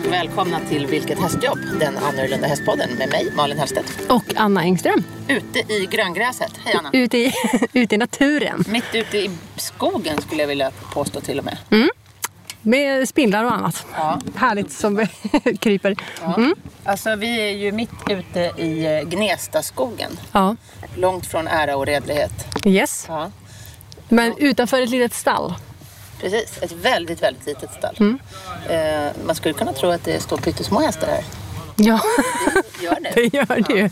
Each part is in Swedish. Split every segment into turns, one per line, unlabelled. välkomna till Vilket hästjobb? Den annorlunda hästpodden med mig, Malin Hellstedt.
Och Anna Engström.
Ute i gröngräset. Hej Anna.
Ute i, ute i naturen.
Mitt ute i skogen skulle jag vilja påstå till och med.
Med spindlar och annat.
Ja.
Härligt som kryper.
Ja. Alltså vi är ju mitt ute i eh, Gnestaskogen.
Ja.
Långt från ära och redlighet.
Yes.
Ja.
Men utanför ett litet stall.
Precis, ett väldigt, väldigt litet stall. Eh, man skulle kunna tro att det står pyttesmå hästar här.
Ja,
Gör det?
det gör det ju.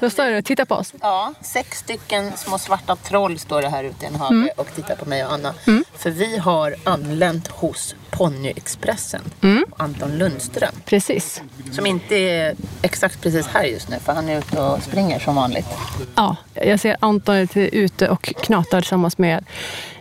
Då står det och tittar på oss.
Ja, sex stycken små svarta troll står det här ute i en hage
Mm.
och tittar på mig och Anna. För vi har anlänt hos Ponnyexpressen,
Mm.
Anton Lundström.
Precis.
Som inte är exakt precis här just nu, för han är ute och springer som vanligt.
Ja, jag ser Anton är ute och knatar tillsammans med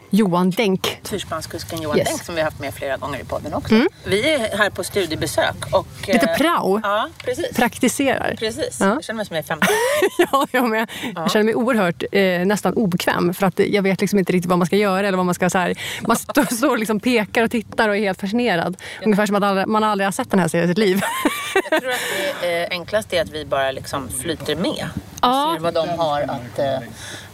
Johan Denk.
Fyrspanskusken Johan
Yes. Mm.
Denk som vi har haft med flera gånger i podden också. Vi är här på studiebesök och...
Lite
eh,
prao.
Ja, precis.
Praktiserar.
Precis.
Ja.
Jag känner mig som jag är 15.
Ja, jag med. Jag känner mig oerhört eh, nästan obekväm för att jag vet liksom inte riktigt vad man ska göra eller vad man ska så här. Man står, står och liksom pekar och tittar och är helt fascinerad. Ungefär som att aldrig, man aldrig har sett den här serien i sitt liv.
Jag tror att det eh, enklaste är att vi bara liksom flyter med.
Ja.
Ser vad de har att, eh,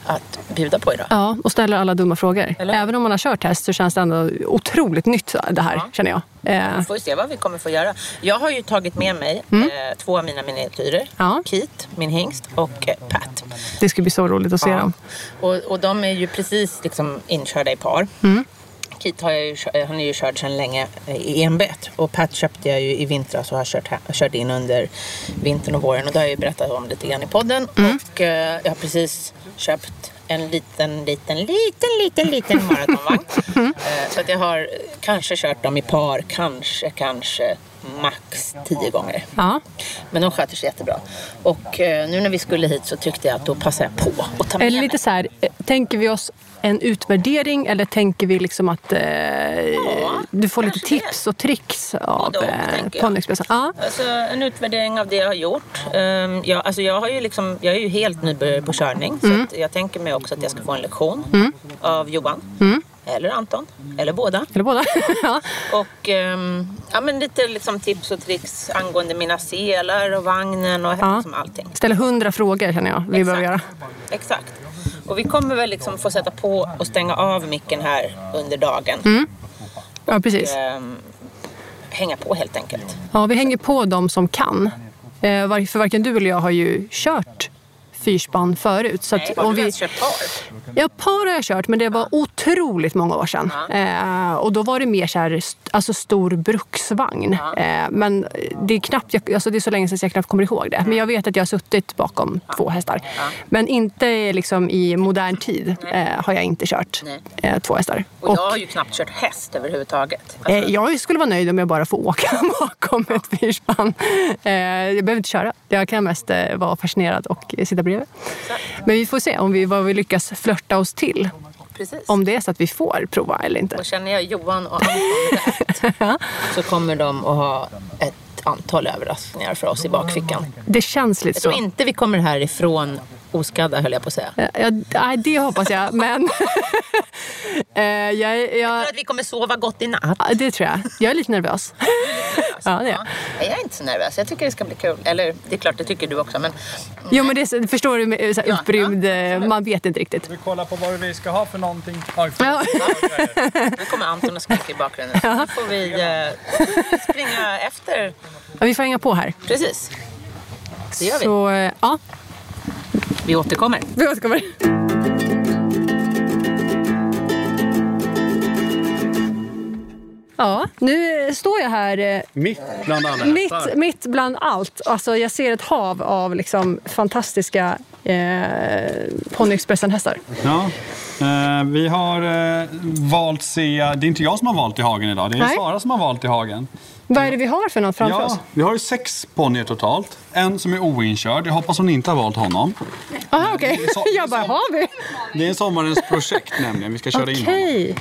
att bjuda på idag.
Ja, och ställer alla dumma frågor.
Eller?
Även om man har kört häst så känns det ändå otroligt nytt det här, känner jag. Eh,
Vi får se vad vi kommer få göra. Jag har ju tagit med mig eh, två av mina miniatyrer.
Ja.
Kit, min hingst, och eh, Pat.
det ska bli så roligt att se dem.
Och, och de är ju precis liksom inkörda i par.
Mm.
Kit har jag ju, kö- eh, han är ju körd sedan länge eh, i enbett. Och Pat köpte jag ju i vintras och har kört, här- kört in under vintern och våren. Och det har jag ju berättat om lite grann i podden.
Mm.
Och eh, jag har precis köpt en liten, liten, liten, liten, liten maratonvagn.
Mm.
Eh, Så att jag har eh, kanske kört dem i par, kanske, kanske max tio gånger.
Ja,
Men de sköter sig jättebra. Och eh, nu när vi skulle hit så tyckte jag att då passar jag på att ta med
eller
mig.
lite så här, eh, tänker vi oss en utvärdering eller tänker vi liksom att eh, du får lite
kanske det.
tips och tricks av
Både och,
eh,
tänker jag.
Ponyexpressen? Ja.
Alltså, en utvärdering av det jag har gjort. Ehm, jag, alltså, jag, har ju liksom, jag är ju helt nybörjare på körning
Mm.
så att jag tänker mig också att jag ska få en lektion av Johan.
Mm.
Eller Anton. Eller båda.
Eller båda. ja.
Och ehm, ja, men lite liksom, tips och tricks angående mina selar och vagnen och
Ja.
liksom, allting.
Ställa hundra frågor känner jag vi behöver göra.
Exakt. Och vi kommer väl liksom få sätta på och stänga av micken här under dagen.
Mm. Ja, precis.
Ehm, hänga på helt enkelt.
Ja, vi hänger på dem som kan. Eh, var- För varken du eller jag har ju kört fyrspann förut. Så
Nej,
att
har
om
du
vi,
ens köpt par?
ja, par har jag kört, men det var otroligt många år sedan. Eh, och då var det mer så här, st- alltså stor bruksvagn. Eh, men det är, knappt, jag- alltså det är så länge sedan så jag knappt kommer ihåg det. Men jag vet att jag har suttit bakom två hästar. Men inte liksom i modern tid eh, har jag inte kört
Nej.
eh, två hästar.
Och, jag har ju knappt kört häst överhuvudtaget. Alltså,
Eh, Jag skulle vara nöjd om jag bara får åka bakom ett fyrspann. Eh, Jag behöver inte köra. Jag kan mest eh, vara fascinerad och eh, sitta bredvid. Men vi får se om vi, vad vi lyckas flörta oss till.
Precis.
Om det är så att vi får prova eller inte.
Och känner jag Johan och Anton rätt så kommer de att ha ett antal överraskningar för oss i bakfickan.
Det känns lite
Jag tror
så.
inte vi kommer härifrån oskadda höll jag på att säga. Jag
Eh, jag- Nej, det hoppas jag. Men eh, jag, jag,
tror att vi kommer sova gott i natt.
ja, det tror jag. Jag är lite nervös. Ja, det är jag.
Nej, jag är inte så nervös. Jag tycker det ska bli kul. Eller det är klart, det tycker du också. Men
Jo, men det är, så- förstår du, med- så här
Ja,
upprymd. eh, Man vet inte riktigt.
Vi kollar på vad vi ska ha för någonting. Oj, förlåt.
Ja.
nu kommer Anton och skrika i bakgrunden. Nu får vi eh, springa efter.
Ja, Vi får hänga på här.
Precis. Det gör vi.
Så, eh, ja.
Vi återkommer.
Vi återkommer. Ja, nu eh, står jag här eh,
Mitt bland annat.
mitt, mitt bland allt. Alltså, jag ser ett hav av liksom, fantastiska eh, ponnyexpressen-hästar.
Ja. Eh, vi har eh, valt se... Det är inte jag som har valt i hagen idag. Det är
Nej.
Sara som har valt i hagen.
Vad är det vi har för något framför
Ja,
oss?
vi har ju sex ponnyer totalt. En som är oinkörd. Jag hoppas hon inte har valt honom.
Aha, okej.
Det är så-
Jag bara,
det är så-
har vi?
Det är sommarens projekt nämligen. Vi ska köra in honom.
Okej.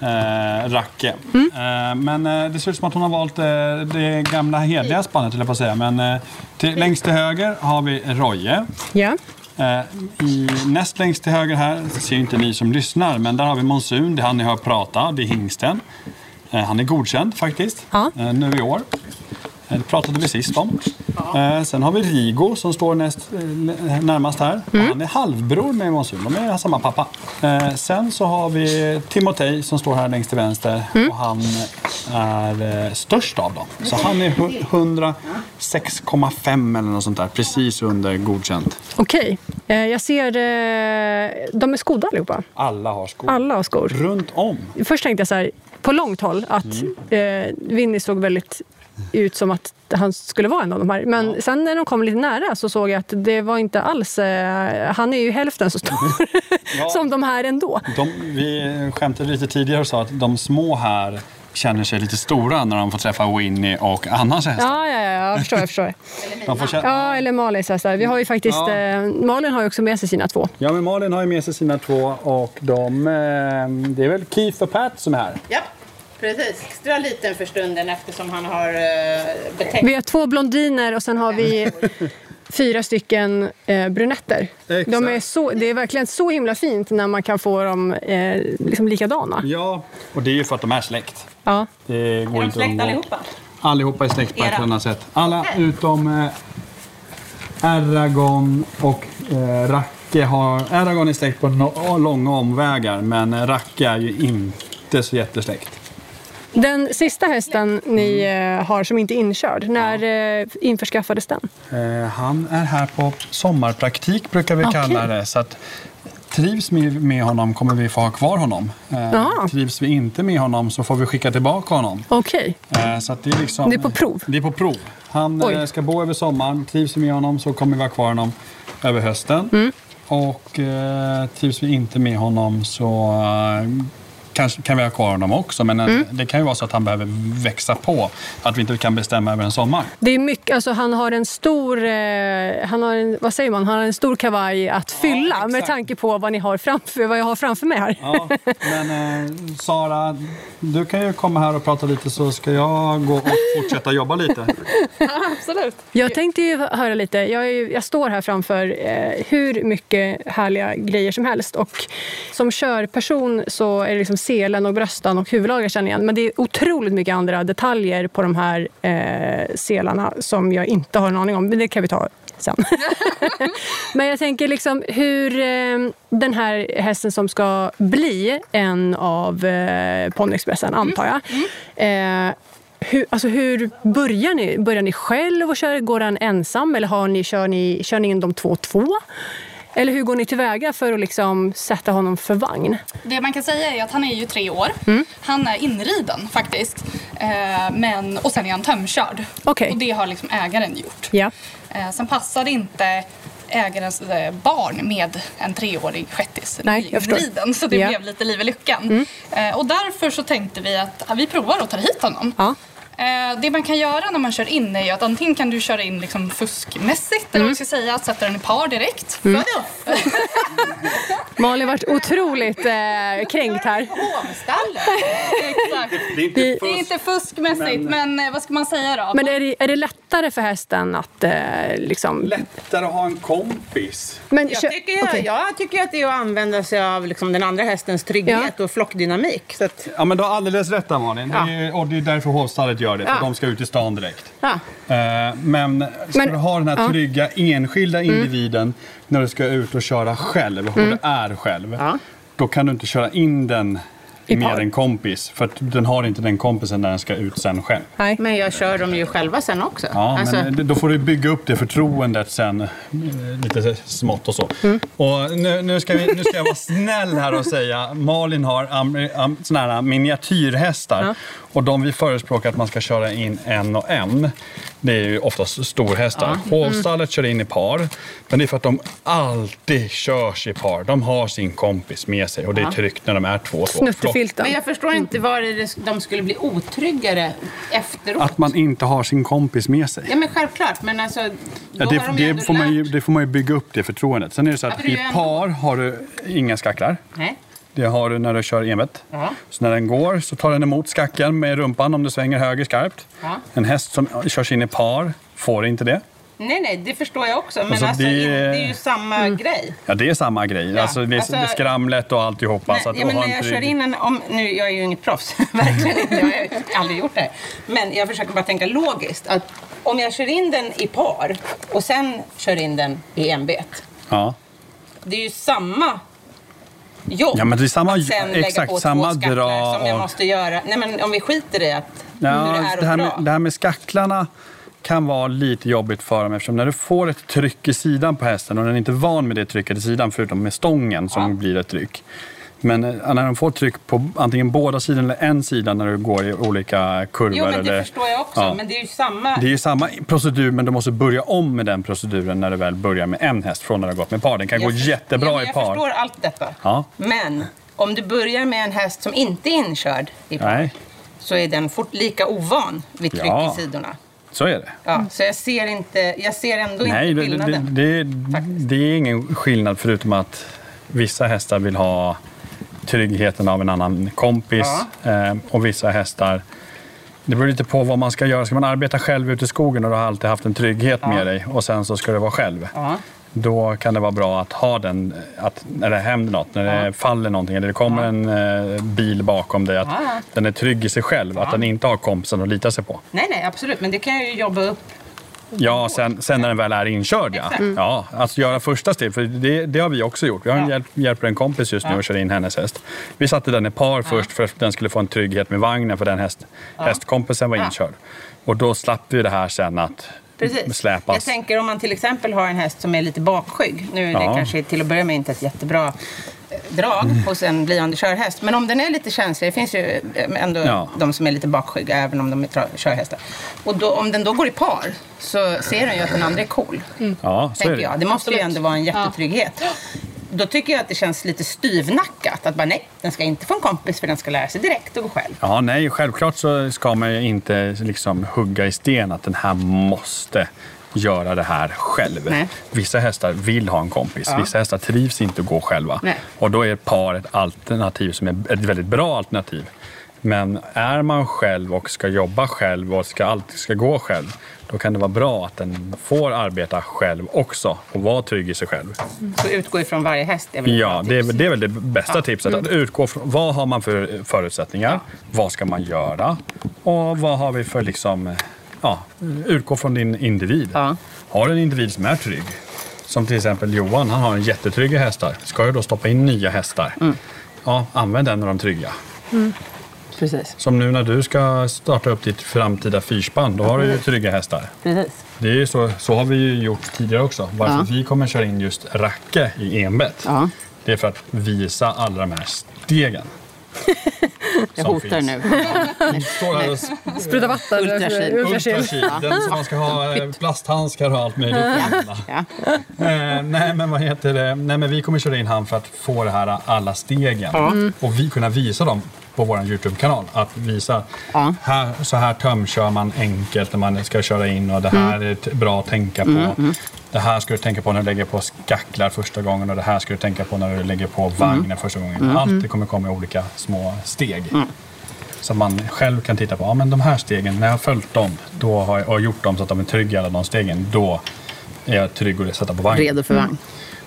Mm.
Eh, Racke. Eh, men eh, det ser ut som att hon har valt eh, det gamla hederliga spannet, höll jag på att säga. Men eh, till, längst till höger har vi Roje.
Ja.
Eh, I, näst längst till höger här, ser ju inte ni som lyssnar, men där har vi Monsun, det är han ni hör prata, det är hingsten. Eh, han är godkänd faktiskt,
Ja.
eh, nu i år. Eh, Det pratade vi sist om. Eh, Sen har vi Rigo som står näst, eh, närmast här. Han är halvbror med Monsun. De är samma pappa. Eh, Sen så har vi Timotej som står här längst till vänster. Och han är eh, störst av dem. Så han är hu- 106,5 eller något sånt där. Precis under godkänt.
Okej, eh, jag ser... Eh, de är skodda allihopa.
Alla har skor.
Alla har skor.
Runt om.
Först tänkte jag så här, på långt håll att
Mm.
eh, Vinny såg väldigt ut som att han skulle vara en av de här. Men sen när de kom lite nära så såg jag att det var inte alls... Eh, han är ju hälften så stor som de här ändå.
De, vi skämtade lite tidigare och sa att de små här känner sig lite stora när de får träffa Winnie och Annas hästar.
Ja, ja, ja, jag förstår. Jag förstår.
De får känna...
Ja, eller Malins hästar. Vi har ju faktiskt...
Ja.
Eh, Malin har ju också med sig sina två.
Ja, men Malin har ju med sig sina två och de, eh, det är väl Keith och Pat som är här.
Ja, precis. Extra liten för stunden eftersom han har eh, betäckt.
Vi har två blondiner och sen har vi fyra stycken eh, brunetter.
Exakt.
De är så, det är verkligen så himla fint när man kan få dem eh, liksom likadana.
Ja, och det är ju för att de är släkt.
Ja.
Det går
Är de
inte att
släkt
undgå.
allihopa?
Allihopa är släkt på ett
Era.
eller annat sätt. Alla utom eh, Eragon och eh, Racke har... Eragon är släkt på no- långa omvägar men eh, Racke är ju inte så jättesläkt.
Den sista hästen ni eh, har som inte är inkörd, när eh, införskaffades den?
Eh, han är här på sommarpraktik brukar vi
Okej.
kalla det. Så att, trivs vi med honom kommer vi få ha kvar honom. Eh,
Jaha.
trivs vi inte med honom så får vi skicka tillbaka honom.
Okej,
Eh, så att det, är liksom,
Det är på prov?
Det är på prov. Han
Oj.
eh, ska bo över sommaren. Trivs vi med honom så kommer vi vara kvar honom över hösten.
Mm.
Och eh, trivs vi inte med honom så eh, kanske kan vi ha kvar honom också. Men eh,
Mm.
det kan ju vara så att han behöver växa på. Att vi inte kan bestämma över en sommar.
det är mycket, alltså han har en stor, eh, han har en, vad säger man, han har en stor kavaj att fylla med
exakt.
tanke på vad ni har framför, vad jag har framför mig här.
Ja, men eh, Sara, du kan ju komma här och prata lite så ska jag gå och fortsätta jobba lite.
Absolut.
Jag tänkte ju höra lite, jag, är ju, jag står här framför eh, hur mycket härliga grejer som helst och som körperson så är det liksom selen och bröstan och huvudlag jag känner igen. Men det är otroligt mycket andra detaljer på de här eh, selarna som jag inte har en aning om, men det kan vi ta sen. men jag tänker liksom hur eh, den här hästen som ska bli en av eh, ponnyexpressen, antar jag. Eh, hur, alltså hur börjar ni? Börjar ni själv och kör? Går han ensam eller har ni, kör, ni, kör ni in de två och två? Eller hur går ni tillväga för att liksom sätta honom för vagn?
Det man kan säga är att han är ju tre år.
Mm.
Han är inriden faktiskt. Eh, men, och sen är han tömkörd.
Okej.
Och det har liksom ägaren gjort.
Ja.
Eh, sen passar det inte ägarens eh, barn med en treårig shettis
Nej, jag förstår.
inriden. Så det
Ja. Mm.
blev lite liv i luckan. Eh, och därför så tänkte vi att ja, vi provar att ta hit honom.
Ja.
Eh, Det man kan göra när man kör in är ju att antingen kan du köra in liksom fuskmässigt,
Mm.
eller vad man ska säga, att sätta den i par direkt.
Malin varit otroligt eh, kränkt här.
Hovstallet.
Exakt.
Det är inte
Det är inte fuskmässigt, men, eh, vad ska man säga då?
Men är det, är det lättare för hästen att eh, liksom...
lättare att ha en kompis.
Men kö-
Jag tycker, jag,
okej.
jag tycker att det är att använda sig av liksom den andra hästens trygghet och flockdynamik. Så att,
Ja, men du har alldeles rätt där Malin.
Ja.
Det är, och det är därför hovstallet gör det, för
Ja.
de ska ut i stan direkt.
ja.
Eh, Men ska
Men-
du ha den här
ja. Mm.
trygga enskilda individen när du ska ut och köra själv, och du är själv,
Ja.
då kan du inte köra in den
I
med
par.
en kompis. För att den har inte den kompisen när den ska ut sen själv.
Nej.
Men jag kör dem ju själva sen också.
Ja,
Alltså,
men då får du bygga upp det förtroendet sen eh, lite smått och så. Och nu, nu, ska vi, nu ska jag vara snäll här och säga, Malin har am, am, såna här miniatyrhästar och de vi förespråkar att man ska köra in en och en, det är ju oftast storhästar. Hovstallet kör in i par, men det är för att de alltid körs i par. De har sin kompis med sig och det är tryggt när de är två och två.
Snuttefilten.
men jag förstår
Mm.
inte var det- de skulle bli otryggare efteråt.
Att man inte har sin kompis med sig.
Ja, men självklart. Men alltså,
Ja,
då
det,
har de
det,
ändå
får man ju,
lärt-
det får man ju bygga upp det förtroendet. Sen är det så
Ja,
att
för det är
i
ju ändå-
par har du inga skacklar.
Nej.
Det har du när du kör envet.
Ja.
Så när den går så tar den emot skacken med rumpan om du svänger höger skarpt.
Ja.
En häst som körs in i par får inte det.
Nej, nej, det förstår jag också. Men
Alltså,
alltså,
det-
det... är ju samma
Mm.
grej.
Ja, det är samma grej.
Ja,
Alltså, det är
alltså-
skramlet och alltihopa.
Nej,
så att
ja, men
ha
när
en
jag
trygg-
kör in en... Om, nu, jag är ju inget proffs, verkligen inte. Jag har ju aldrig gjort det. Men jag försöker bara tänka logiskt. Att om jag kör in den i par och sen kör in den i enbet.
Ja.
Det är ju samma jobb.
Ja, men det är samma-
att sen lägga
exakt,
på två
samma
skacklar
dra
som jag
av-
måste göra. Nej, men om vi skiter i att hur det
Ja,
är och
det, här med,
dra.
det här med skacklarna kan vara lite jobbigt för dem eftersom när du får ett tryck i sidan på hästen och den är inte van med det trycket i sidan förutom med stången som blir ett tryck. Men eh, när de får tryck på antingen båda sidorna eller en sida när du går i olika kurvor.
Jo, men det
eller,
förstår jag också.
Ja.
Men det är ju samma...
Det är ju samma procedur men du måste börja om med den proceduren när du väl börjar med en häst från när du har gått med par. Den kan gå
Jag för-
jättebra
ja, men
i
jag
par.
Jag förstår allt detta.
Ja.
Men om du börjar med en häst som inte är inkörd i par
Nej,
så är den fort lika ovan vid tryck
Ja.
i sidorna.
så är det.
Ja, så jag ser, inte, jag ser ändå
Nej,
inte
det, det,
skillnaden.
det,
Faktiskt.
det är ingen skillnad förutom att vissa hästar vill ha tryggheten av en annan kompis eh, och vissa hästar det beror lite på vad man ska göra. Ska man arbeta själv ute i skogen och du har alltid haft en trygghet med dig och sen så ska du vara själv.
Ja.
Då kan det vara bra att ha den, att när det händer något, när det faller någonting eller det kommer en eh, bil bakom dig, att
Ja, ja.
den är trygg i sig själv. Att den inte har kompisen att lita sig på.
Nej, nej, absolut. Men det kan jag ju jobba upp.
Ja, sen, sen när den väl är inkörd. Ja.
Mm.
Ja, alltså göra första steget, för det, det har vi också gjort. Vi har en hjälp, hjälper en kompis just nu och kör in hennes häst. Vi satte den i par först för att den skulle få en trygghet med vagnen för den häst, hästkompisen var inkörd. Och då slapp vi det här sen att
Precis. Jag
släpas.
tänker om man till exempel har en häst som är lite bakskygg. Nu är det
Ja. Mm.
kanske till att börja med inte ett jättebra eh, drag hos en blivande körhäst. Men om den är lite känslig, det finns ju eh, ändå
Ja.
de som är lite bakskygga även om de är tra- körhästar. Och då, om den då går i par så ser den ju att den andra är cool.
Ja, så är
tänker
det.
jag. Det måste ju ändå vara en jättetrygghet. Då tycker jag att det känns lite styvnackat. Att bara nej, den ska inte få en kompis för den ska lära sig direkt och gå själv.
Ja, nej, självklart så ska man ju inte liksom hugga i sten att den här måste göra det här själv.
Nej.
Vissa hästar vill ha en kompis, vissa hästar trivs inte att gå själva.
Nej.
Och då är ett par ett alternativ som är ett väldigt bra alternativ. Men är man själv och ska jobba själv och ska alltid ska gå själv, då kan det vara bra att den får arbeta själv också och vara trygg i sig själv.
Så utgå ifrån varje häst. Är väl ett bra
Ja, det är,
tips. Mm.
det är väl det bästa tipset. Att utgå från vad har man för förutsättningar, vad ska man göra och vad har vi för liksom... Ja, utgå från din individ.
Ja.
Har du en individ som är trygg, som till exempel Johan, han har en jättetrygga hästar. Ska du då stoppa in nya hästar?
Mm.
Ja, använd en av de trygga.
Precis.
Som nu när du ska starta upp ditt framtida fyrspann, då har du ju
Mm.
trygga hästar.
Precis.
Det är ju så, så har vi ju gjort tidigare också. Varför
Ja.
vi kommer köra in just Racke i enbett.
Ja.
Det är för att visa alla de här stegen.
Jag
som
hotar
finns.
nu.
Står här och s-
Spruta vatten.
Ultrakyl.
Ultrakyl.
ultrakyl. Den som man ska ha eh, plasthandskar och allt möjligt.
Ja.
Eh, nej, men vad heter det? Nej, men vi kommer köra in han för att få det här eh, alla stegen
Mm.
och vi kunna visa dem på vår Youtube-kanal. Att visa
Ja.
här, så här tömkör man enkelt när man ska köra in och det här
Mm.
är t- bra att tänka på. Det här ska du tänka på när du lägger på skacklar första gången och det här ska du tänka på när du lägger på vagnen
Mm.
första gången. Allt det kommer komma i olika små steg. Så att man själv kan titta på, ja men de här stegen, när jag har följt dem då har jag, och gjort dem så att de är trygga i alla de stegen, då är jag trygg att sätta på vagnen.
Redo för vagn.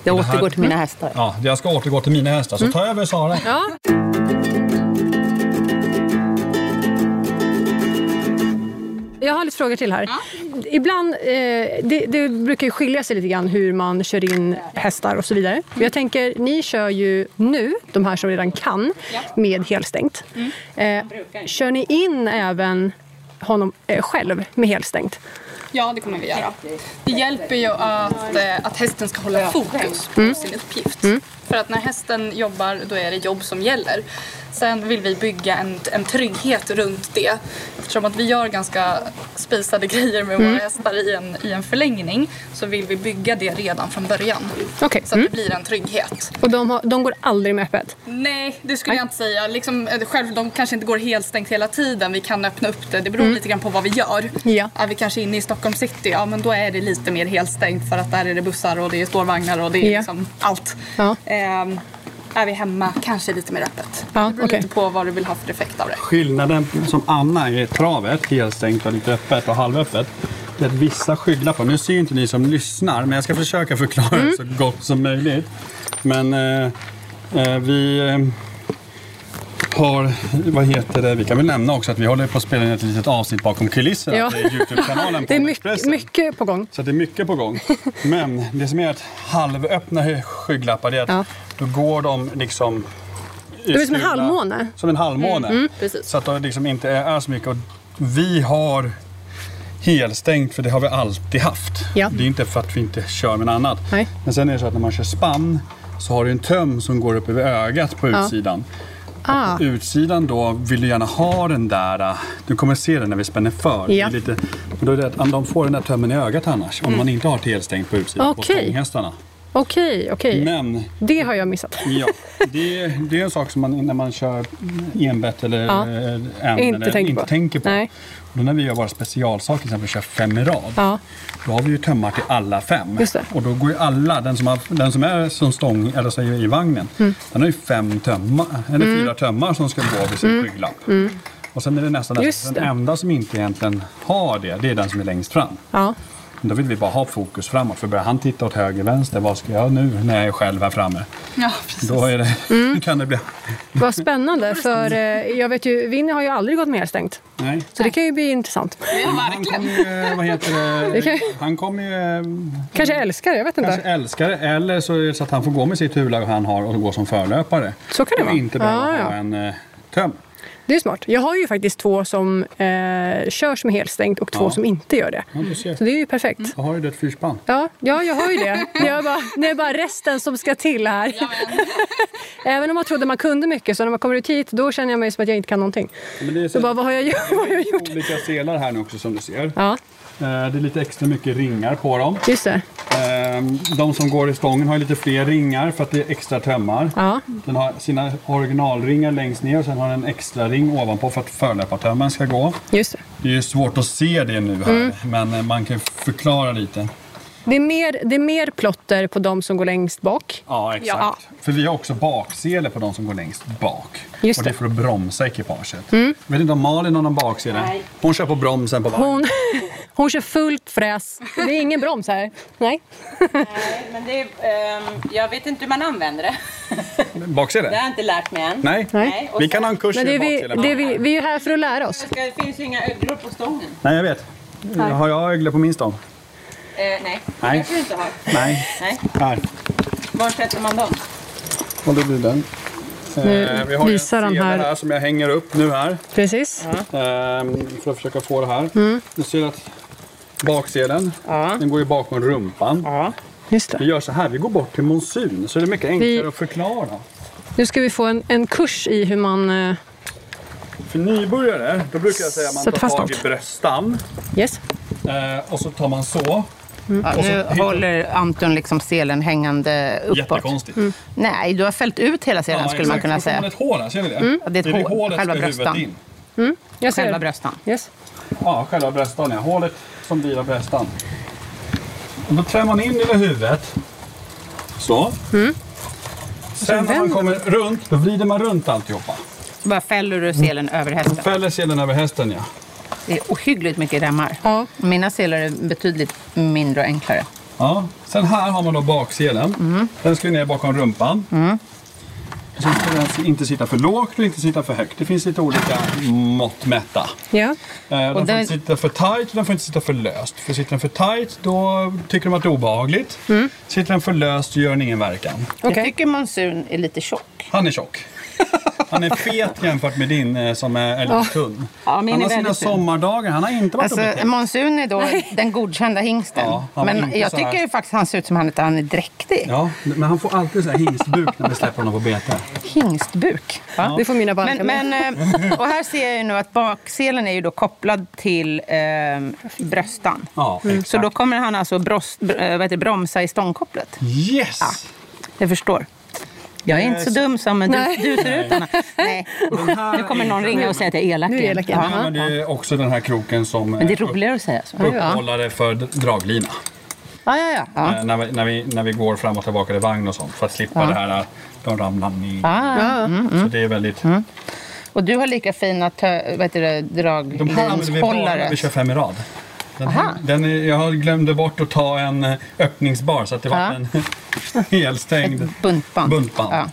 Jag
Det här-
återgår till mina hästar. Mm.
Ja, jag ska återgå till mina hästar, så ta över Sara.
Ja, Jag har lite frågor till här. Ibland, eh, det, det brukar ju skilja sig lite grann hur man kör in hästar och så vidare. Men Jag tänker, ni kör ju nu, de här som redan kan, med helstängt.
Mm.
Eh, kör ni in även honom eh, själv med helstängt?
Ja, det kommer vi göra. Det hjälper ju att, eh, att hästen ska hålla fokus på
Mm.
sin uppgift. För att när hästen jobbar, då är det jobb som gäller. Sen vill vi bygga en, en trygghet runt det. Eftersom att vi gör ganska spisade grejer med
Mm.
våra hästar i en, i en förlängning så vill vi bygga det redan från början.
Okej.
Så att
Mm.
det blir en trygghet.
Och de, har, de går aldrig med öppet?
Nej, det skulle jag inte säga. Liksom, eh, själv, de kanske inte går helt stängt hela tiden. Vi kan öppna upp det. Det beror lite grann på vad vi gör.
Mm. Ja.
Är vi kanske inne i Stockholm city, ja men då är det lite mer helt stängt för att där är det bussar och det är spårvagnar och det är
Ja.
liksom allt.
Ja.
Ehm, är vi hemma, kanske lite mer öppet.
Ja,
det beror
okej.
lite på vad du vill ha för effekt av det.
Skillnaden som Anna är travet, helstängt och lite öppet och halvöppet, sättet vissa skygglappar. Nu ser ju inte ni som lyssnar, men jag ska försöka förklara
Mm.
det så gott som möjligt. Men eh, eh, vi eh, har, vad heter det, vi kan väl nämna också att vi håller på att spela in ett litet avsnitt bakom kulisserna
Ja.
på Youtube-kanalen
Det är
på
mycket,
Expressen.
mycket på gång.
Så det är mycket på gång. Men det som är att halvöppna skygglappar det är att
Ja.
då går de liksom...
är som en halvmåne. Mm,
Som en halvmåne.
precis.
Så att de liksom inte är så mycket. Och vi har helstängt, för det har vi alltid haft.
Ja.
Det är inte för att vi inte kör med något annat.
Nej.
Men sen är det så att när man kör spann så har du en töm som går upp över ögat på utsidan.
Ah.
Utsidan då vill du gärna ha den där, äh, du kommer se den när vi spänner för.
Ja. Mm.
Det är lite, men då är det att de får den där tömmen i ögat annars, om man inte har helstängt på utsidan på
Okej.
stånghästarna.
Okej, okej.
Men
Det har jag missat.
ja, det, det är en sak som man när man kör enbett eller
Ja.
en
Inte
eller,
tänker
inte
på.
tänker på.
Nej.
Och då när vi gör våra specialsaker, till exempel kör fem i rad,
Ja.
då har vi ju tömmar till alla fem.
Just det.
Och då går ju alla, den som, har, den som är som stång, eller så i vagnen,
Mm.
den har ju fem tömmar, eller fyra tömmar som ska gå vid sin skygglapp. Och sen är det nästan
Mm. Just
den
det.
enda som inte egentligen har det, det är den som är längst fram.
Ja.
Men Då vill vi bara ha fokus framåt, för börjar han titta åt höger, vänster, vad ska jag nu när jag är själv här framme?
Ja, precis.
Då är det,
Mm.
kan det bli...
Vad spännande, för eh, jag vet ju, Winnie har ju aldrig gått med helstängt.
Nej.
Så det kan ju bli intressant.
Han kommer ju, eh, vad heter det,
kan-
han kommer ju eh,
Kanske älskar, jag vet inte.
kanske älskar det, eller så är det så att han får gå med sitt huvudlag han har och gå som förlöpare.
Så kan det
och
vara.
inte behöva
Ja, ja.
ha en eh, töm.
Det är smart. Jag har ju faktiskt två som eh, körs med helstängt och två
Ja. Mm.
som inte gör det.
Ja, du ser.
Så det är ju perfekt.
Då har ju du ett fyrspann.
Ja, ja, jag har ju det. Det är, bara, det är bara resten som ska till här. Även om man trodde man kunde mycket, så när man kommer ut hit då känner jag mig som att jag inte kan någonting.
Men det är
Så bara, vad har jag gjort? Vad har jag gjort?
olika selar här nu också som du ser.
Ja,
Eh, Det är lite extra mycket ringar på dem.
just det.
Ehm, De som går i stången har ju lite fler ringar för att det är extra tömmar.
Ja.
Den har sina originalringar längst ner och sen har den en extra ring ovanpå för att förlöpartömmen ska gå.
Just det.
Det är ju svårt att se det nu här,
Mm.
men eh, man kan ju förklara lite.
Det är, mer, det är mer plotter på de som går längst bak.
Ja, exakt. För vi har också baksele på de som går längst bak.
Just
och det är
det. Mm.
för att bromsa ekipaget. Vet inte om Malin har någon baksele? Nej. Hon kör på bromsen på vagnen.
Hon, hon kör fullt fräs. Det är ingen broms här. Nej.
Nej, men det är, ehm, jag vet inte hur man använder det.
Baksele?
Det har jag inte lärt mig än.
Nej.
Nej, och
Vi kan
sen-
ha en kurs
Men det
i
är vi,
baksele.
det är vi, vi är ju här för att lära oss.
Det ska- Det finns ju inga öglor på stången.
Nej, jag vet. Har jag ögle på min stång?
Eh, nej, det
Nej.
kanske du inte har.
Nej.
Nej.
Här.
Var sätter man dem?
Och då blir den. Eh,
Nu
vi har ju en
visar han
sele
här.
här som jag hänger upp nu här.
Precis.
Ehm, för att försöka få det här.
Mm.
Du ser att bakselen, den går ju bakom rumpan.
Just
Vi
det.
gör så här, vi går bort till monsun så det är mycket enklare
Vi-
att förklara.
Nu ska vi få en, en kurs i hur man... eh,
För nybörjare, då brukar jag säga att man
Sätt
tar
fast
tag i
något.
bröststam
Yes.
eh, och så tar man så.
Ja,
Och så-
Mm. nu håller Anton liksom selen hängande uppåt.
Jättekonstigt.
Nej, du har fällt ut hela selen Mm. skulle man
exakt.
kunna
Och så får man
säga. Mm.
ett hål här, ser ni det?
Ja, det är ett hål.
hålet
Själva
ska huvudet
bröstan.
in.
Jag ser.
Själva
det.
bröstan.
Yes.
Ja, själva bröstan ja. Hålet som blir av bröstan. Och då trär man in lilla huvudet. Så. Sen när man
vänder
kommer runt, då vrider man runt alltihopa.
Så bara fäller du selen över hästen.
Fäller selen över hästen ja.
Det är ohyggligt mycket remmar.
Ja.
Mina selar är betydligt mindre och enklare.
Ja. Sen här har man då bakselen. Den ska ju ner bakom rumpan. Mm. Sen ska den inte sitta för lågt och inte sitta för högt. Det finns lite olika mått mätta.
Ja.
Eh, Den får
den-
inte sitta för tight och den får inte sitta för löst. För sitter den för tight då tycker de att det är obehagligt.
Mm.
Sitter den för löst gör den ingen verkan.
Okej.
Jag tycker monsun är lite tjock.
Han är tjock. Han är fet jämfört med din eh, som är är lite tunn.
Ja, min
han
är
har sina
väldigt tunn.
sommardagar. Han har inte varit
Alltså,
uppe till.
monsun är då den godkända hingsten.
Ja, han är
Men
inte
jag
så här-
tycker ju faktiskt han ser ut som han, att han är dräktig.
Ja, men han får alltid så här hingstbuk när vi släpper honom på bete.
Hingstbuk. va?
Det får mina barn ta
Men,
med.
men, eh, och här ser jag ju nu att bakselen är ju då kopplad till ehm, bröstan. Mm.
Ja, exakt.
Så då kommer han alltså bros, br- eh, vad heter, det, bromsa i stångkopplet.
Yes!
Jag förstår. Jag är inte så dum som du, du ser ut, Anna. Nej.
Den här
Nu kommer
är-
någon ringa och säga att jag är elak.
Nu är jag
igen.
elak igen.
Ja.
Jag använder också den här kroken som
Men det är
eh,
roligare att säga så.
upp- upphållare för draglina.
Ja, ja, ja. ja.
Eh, När, vi, när, vi, när vi går fram och tillbaka i vagn och sånt för att slippa det här att de ramlar ner. Så det är väldigt...
Och du har lika fina tö- vad heter det,
De här använder vi bara när
draglinshållare.
vi kör fem i rad. Den,
Aha.
den är, jag glömde bort att ta en eh, öppningsbar så att det var
Ja.
en helstängd
Ett buntband.
buntband.
Ja.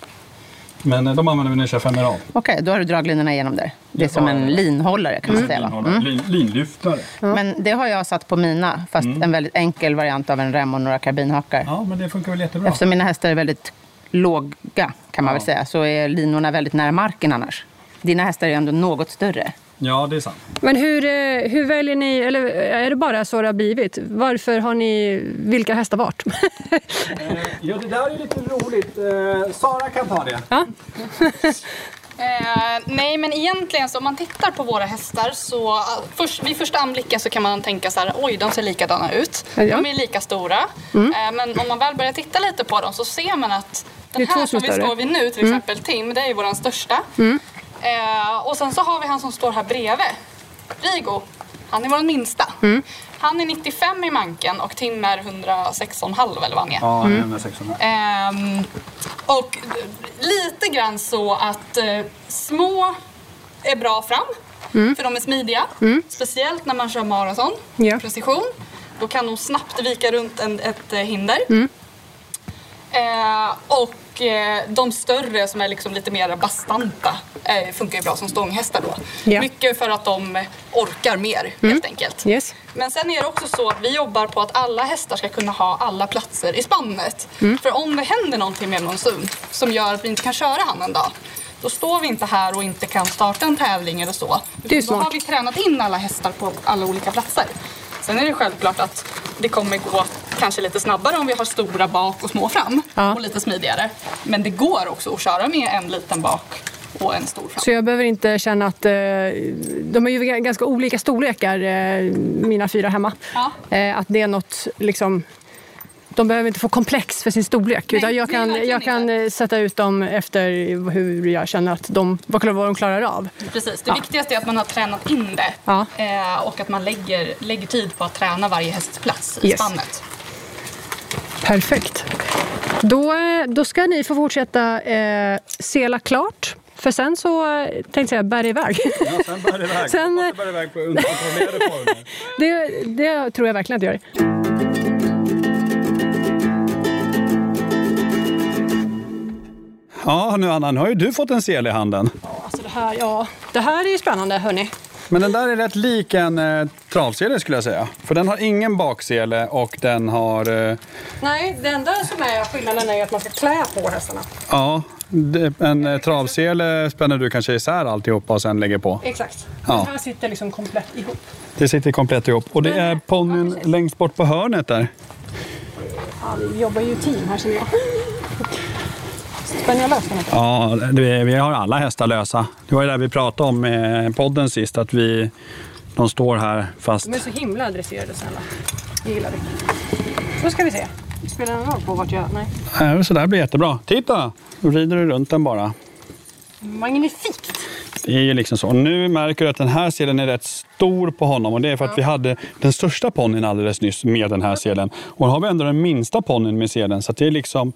Men eh, de använder vi när vi kör 5 rad.
Okej, då har du draglinorna igenom där. Det är
Jag
som
har-
en linhållare kan man säga. va? Mm.
Lin, linlyftare.
Men det har jag satt på mina, fast en väldigt enkel variant av en rem och några karbinhakar.
Mm. Ja, men det funkar väl jättebra.
Eftersom mina hästar är väldigt låga, kan man
Ja.
väl säga, så är linorna väldigt nära marken annars. Dina hästar är ändå något större.
Ja, det är sant.
Men hur, eh, hur väljer ni, eller eh, är det bara så det har blivit? Varför har ni, vilka hästar vart?
Eh, Ja, det där är lite roligt. Eh, Sara kan ta det.
Eh, nej, men egentligen så om man tittar på våra hästar så eh, först, vid första anblicken så kan man tänka så här, oj, de ser likadana ut.
Ja. Mm.
De är lika stora. Eh, men om man väl börjar titta lite på dem så ser man att
Det är
den
två som
här som
är
vi
större. Mm.
står vid nu, till exempel Tim, det är ju vår största. Eh, och sen så har vi han som står här bredvid, Rigo. Han är vår minsta.
Mm.
Han är 95 i manken och Tim är 116,5 eller vad han är.
Ja, mm. 600.
Ehm, och lite grann så att eh, små är bra fram,
Mm.
för de är smidiga. Speciellt när man kör maraton,
Ja.
precision. Då kan de snabbt vika runt en, ett eh, hinder.
Mm.
Eh, och eh, de större som är liksom lite mer bastanta eh, funkar ju bra som stånghästar då.
Ja. Mm.
Mycket för att de orkar mer helt enkelt.
Yes.
Men sen är det också så att vi jobbar på att alla hästar ska kunna ha alla platser i spannet.
Mm.
För om det händer någonting med monsun som gör att vi inte kan köra han en dag, då står vi inte här och inte kan starta en tävling eller så.
Det är
Då
smart.
har vi tränat in alla hästar på alla olika platser. Sen är det självklart att det kommer gå kanske lite snabbare om vi har stora bak och små fram
Ja.
och lite smidigare. Men det går också att köra med en liten bak och en stor fram.
Så jag behöver inte känna att... Eh, de är ju g- ganska olika storlekar, eh, mina fyra hemma.
Ja.
Eh, att det är något liksom... De behöver inte få komplex för sin storlek.
Nej,
utan jag
nej,
kan,
verkligen
jag kan eh, sätta ut dem efter hur jag känner att de, vad vad de klarar av.
Precis, det
Ja.
viktigaste är att man har tränat in det
Ja.
eh, och att man lägger, lägger tid på att träna varje hästplats i
Yes.
spannet.
Perfekt. Då, eh, då ska ni få fortsätta eh, sela klart. För sen så eh, tänkte jag säga, bär iväg.
Ja, sen bär det iväg.
Sen-
Hoppas det bär iväg på underkontrollerade former.
Det, det tror jag verkligen att det gör.
Ja, nu Anna, nu har ju du fått en sel i handen.
Alltså det, här, ja, det här är ju spännande, hörni.
Men den där är rätt lik en eh, travsele skulle jag säga. För den har ingen baksele och den har... Eh,
Nej, det enda som är skillnaden är ju att man ska klä på hästarna.
ja, det- en eh, travsele spänner du kanske isär alltihopa och sen lägger på.
Exakt.
Ja.
Det här sitter liksom komplett ihop.
Det sitter komplett ihop. Och det är ponnyn längst bort på hörnet där.
Ja, vi jobbar ju i team här känner jag. Spänner jag lös den?
Ja, det- vi har alla hästar lösa. Det var ju det vi pratade om med podden sist, att vi... De står här fast...
De är så himla adresserade snälla. Det gillar vi. Då ska vi se. Spelar det någon roll på vart jag... Nej.
Ja, Äh, Så där blir jättebra. Titta! Då rider du runt den bara.
Magnifikt!
Det är ju liksom så. Nu märker du att den här selen är rätt stor på honom och det är för att vi hade den största ponnyn alldeles nyss med den här selen. Och nu har vi ändå den minsta ponnyn med selen så att det är liksom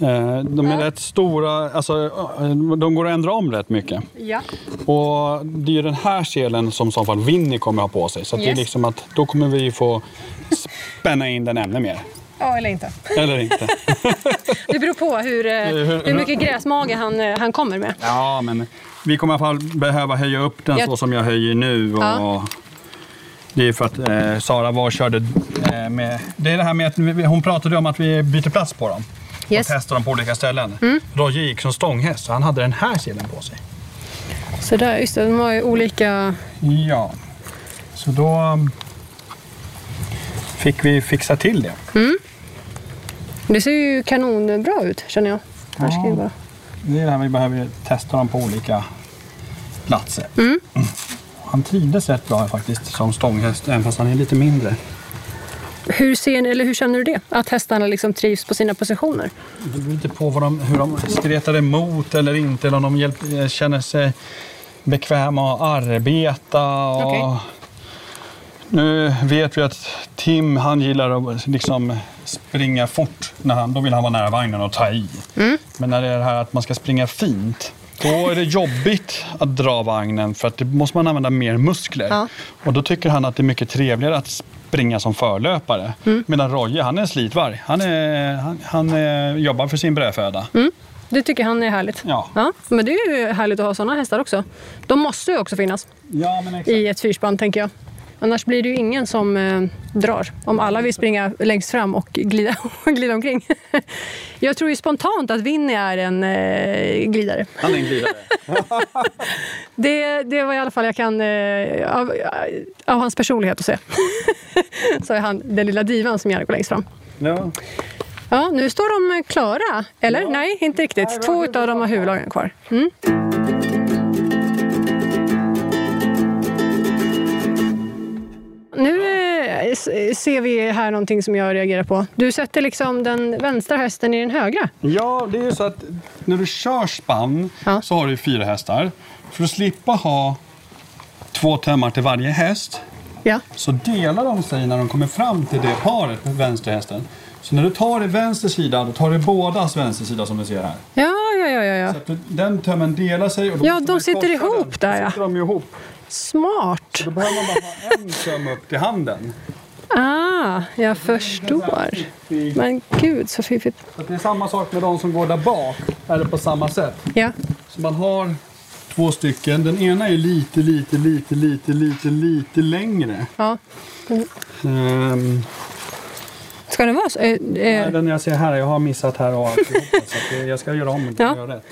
eh, de är rätt stora, alltså, eh, de går att ändra om rätt mycket.
Ja.
Och det är ju den här selen som i så fall Winnie kommer ha på sig. Så att det är
Yes.
liksom att då kommer vi ju få spänna in den ännu mer.
Ja, eller inte.
Eller inte.
Det beror på hur, eh,
hur-
hur mycket gräsmage han, eh, han kommer med.
Ja, men vi kommer i alla fall behöva höja upp den
Jag-
så som jag höjer nu. Och
Ja.
Det är för att eh, Sara var och körde eh, med... Det är det här med att vi, hon pratade om att vi byter plats på dem.
Yes. Mm.
Och testar dem på olika ställen. Roger gick som stånghäst så han hade den här selen på sig.
Så där, just det, de har ju olika...
Ja. Så då um, fick vi fixa till det.
Det ser ju kanonbra ut känner jag. Här ska vi bara...
Det är det här vi behöver testa dem på olika platser.
Mm.
Han trivdes rätt bra faktiskt som stånghäst, även fast han är lite mindre.
Hur, ser, ni- eller hur känner du det? Att hästarna liksom trivs på sina positioner?
Det beror lite på vad de, hur de stretar emot eller inte, eller om de hjälp, eh, känner sig bekväma att arbeta. Och
Okej.
Nu vet vi att Tim han gillar att liksom springa
Mm.
fort. När han, då vill han vara nära vagnen och ta i. Men när det är det här att man ska springa fint Då är det jobbigt att dra vagnen för att då måste man använda mer muskler.
Ja.
Och då tycker han att det är mycket trevligare att springa som förlöpare.
Mm.
Medan Roje, han är en slitvarg. Han, är, han, han eh, jobbar för sin brödföda.
Det tycker han är härligt.
Ja.
men det är ju härligt att ha sådana hästar också. De måste ju också finnas
Ja, men exakt.
i ett fyrspann, tänker jag. Annars blir det ju ingen som eh, drar, om alla vill springa längst fram och glida, och glida omkring. jag tror ju spontant att Winnie är en eh, glidare.
Han är en glidare.
Det, det var i alla fall jag kan, eh, av, av hans personlighet att se. Så är han den lilla divan som gärna går längst fram.
Ja.
Ja, nu står de klara. Eller? Nej, inte riktigt. Två utav dem har huvudlagen kvar. Mm. Nu eh, s- ser vi här någonting som jag reagerar på. Du sätter liksom den vänstra hästen i den högra.
Ja, det är ju så att när du kör spann
Ja.
så har du ju fyra hästar. För att slippa ha två tömmar till varje häst
Ja.
så delar de sig när de kommer fram till det paret med vänsterhästen. Så när du tar i vänster sida, då tar du bådas vänster sida som du ser här.
Ja, ja, ja, ja, ja.
Så att du- den tömmen delar sig och då
Ja,
måste
de
man ju
sitter
korsa
ihop
den.
där,
Då
ja.
sitter de ju ihop.
Smart.
Då behöver man bara ha en töm upp till handen.
Ah, jag
Så
förstår.
här sitter i-
Men gud så fiffigt.
Så att det är samma sak med de som går där bak, är det på samma sätt.
Ja.
Så man har två stycken. Den ena är lite, lite, lite, lite, lite, lite längre.
ja.
Ehm,
Ska det vara så? Eh, eh,
den jag ser här, jag har missat här och alltihopa, så att det- jag ska göra om den.
Ja.
Ja. Göra rätt.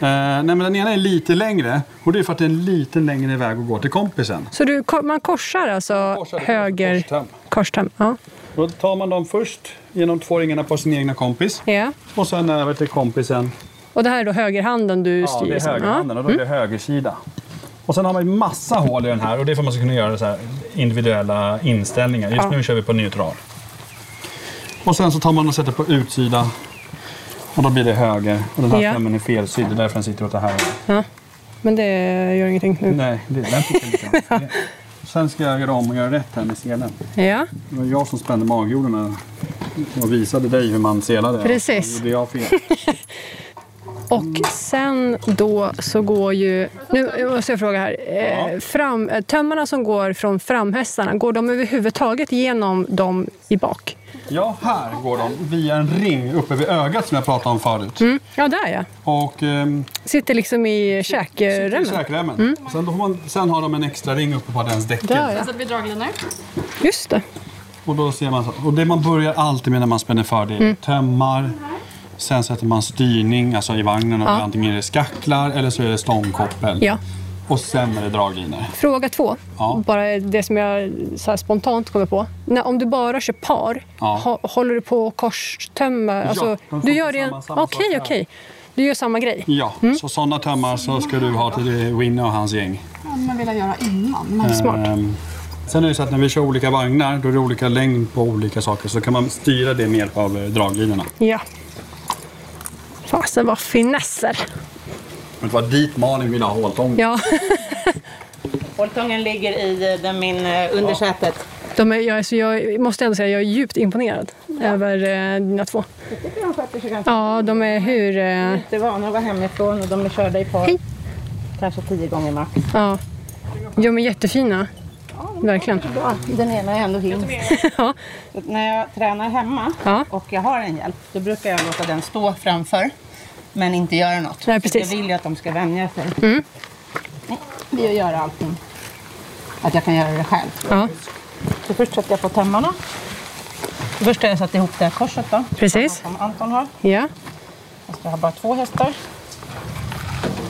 Ehm, nej, men den ena är lite längre och det är för att det är en lite längre väg att gå till kompisen.
Så du, ko- man korsar alltså
korsar det,
höger...
korstöm.
korstöm, Ja.
Då tar man dem först genom två ringarna på sin egna kompis
ja.
och sen över till kompisen.
Och det här är då högerhanden du
Ja,
styr?
det är
liksom.
högerhanden och då är det högersida. Och sen har man ju massa hål i den här och det är för att man ska kunna göra så här individuella inställningar. Just
Ja.
nu kör vi på neutral. Och sen så tar man och sätter på utsida och då blir det höger. Och den här
Ja.
femmen är felsydd, det är därför den sitter åt det här hållet.
Ja. Men det gör ingenting nu?
Nej, det är den fick jag lite för det. Sen ska jag göra om och göra rätt här med selen.
Ja.
Det var jag som spände magjorden och visade dig hur man selade.
Precis.
Och då gjorde jag fel.
Och sen då så går ju... Nu måste jag fråga här. Eh, Fram, eh, tömmarna som går från framhästarna, går de överhuvudtaget genom dem i bak?
Ja, här går de via en ring uppe vid ögat som jag pratade om förut.
Mm. Ja, där ja.
Och ehm,
Sitter liksom i
Sitter i
käkremmen.
käkremmen. Sen, då får man, sen har de en extra ring uppe på dens däcken.
Mm. Där ja.
Så att vi draglinor.
Just det.
Och, då ser man, så- och det man börjar alltid med när man spänner för det är
Mm.
tömmar. Sen sätter man styrning alltså i vagnen. Och
Ja.
Antingen är det skacklar eller så är det stångkoppel.
Ja.
Och sen är det draglinor.
Fråga två.
Ja.
Bara det som jag så här spontant kommer på. När, om du bara kör par,
Ja.
hå- håller du på att korstömma? Alltså,
de får
du gör det...
samma-
en-
samma sak
Okej,
här.
okej. Du gör samma grej.
Ja, så sådana tömmar så ska du ha till eh, Winnie och hans gäng.
man vill göra innan. Men...
Smart.
Ehm, sen är det så att när vi kör olika vagnar då är det olika längd på olika saker. Så kan man styra det med hjälp av eh, draglinorna.
Ja. Fasen vad finesser.
Men det var dit Malin ville ha håltången.
Ja,
Håltången ligger i eh, den min eh, undersätet.
de är, jag, är så jag måste ändå säga att jag är djupt imponerad över eh, dina två.
De sköter sig ganska
Ja, de är hur... Eh,
inte vana att vara hemifrån och de är körda i par.
Hej.
Kanske tio gånger max.
ja. Jo, men jättefina. Verkligen.
Ja, den ena är ändå hingst.
Ja.
När jag tränar hemma
Ja.
och jag har en hjälp, då brukar jag låta den stå framför. Men inte göra något. För
Nej, precis. Mm.
Jag vill ju att de ska vänja sig. Det är att göra allting. Att jag kan göra det själv.
ja,
Så först sätter jag på tömmarna. Först har jag satt ihop det här korset då,
precis.
som Anton har.
Ja.
Fast jag har bara två hästar.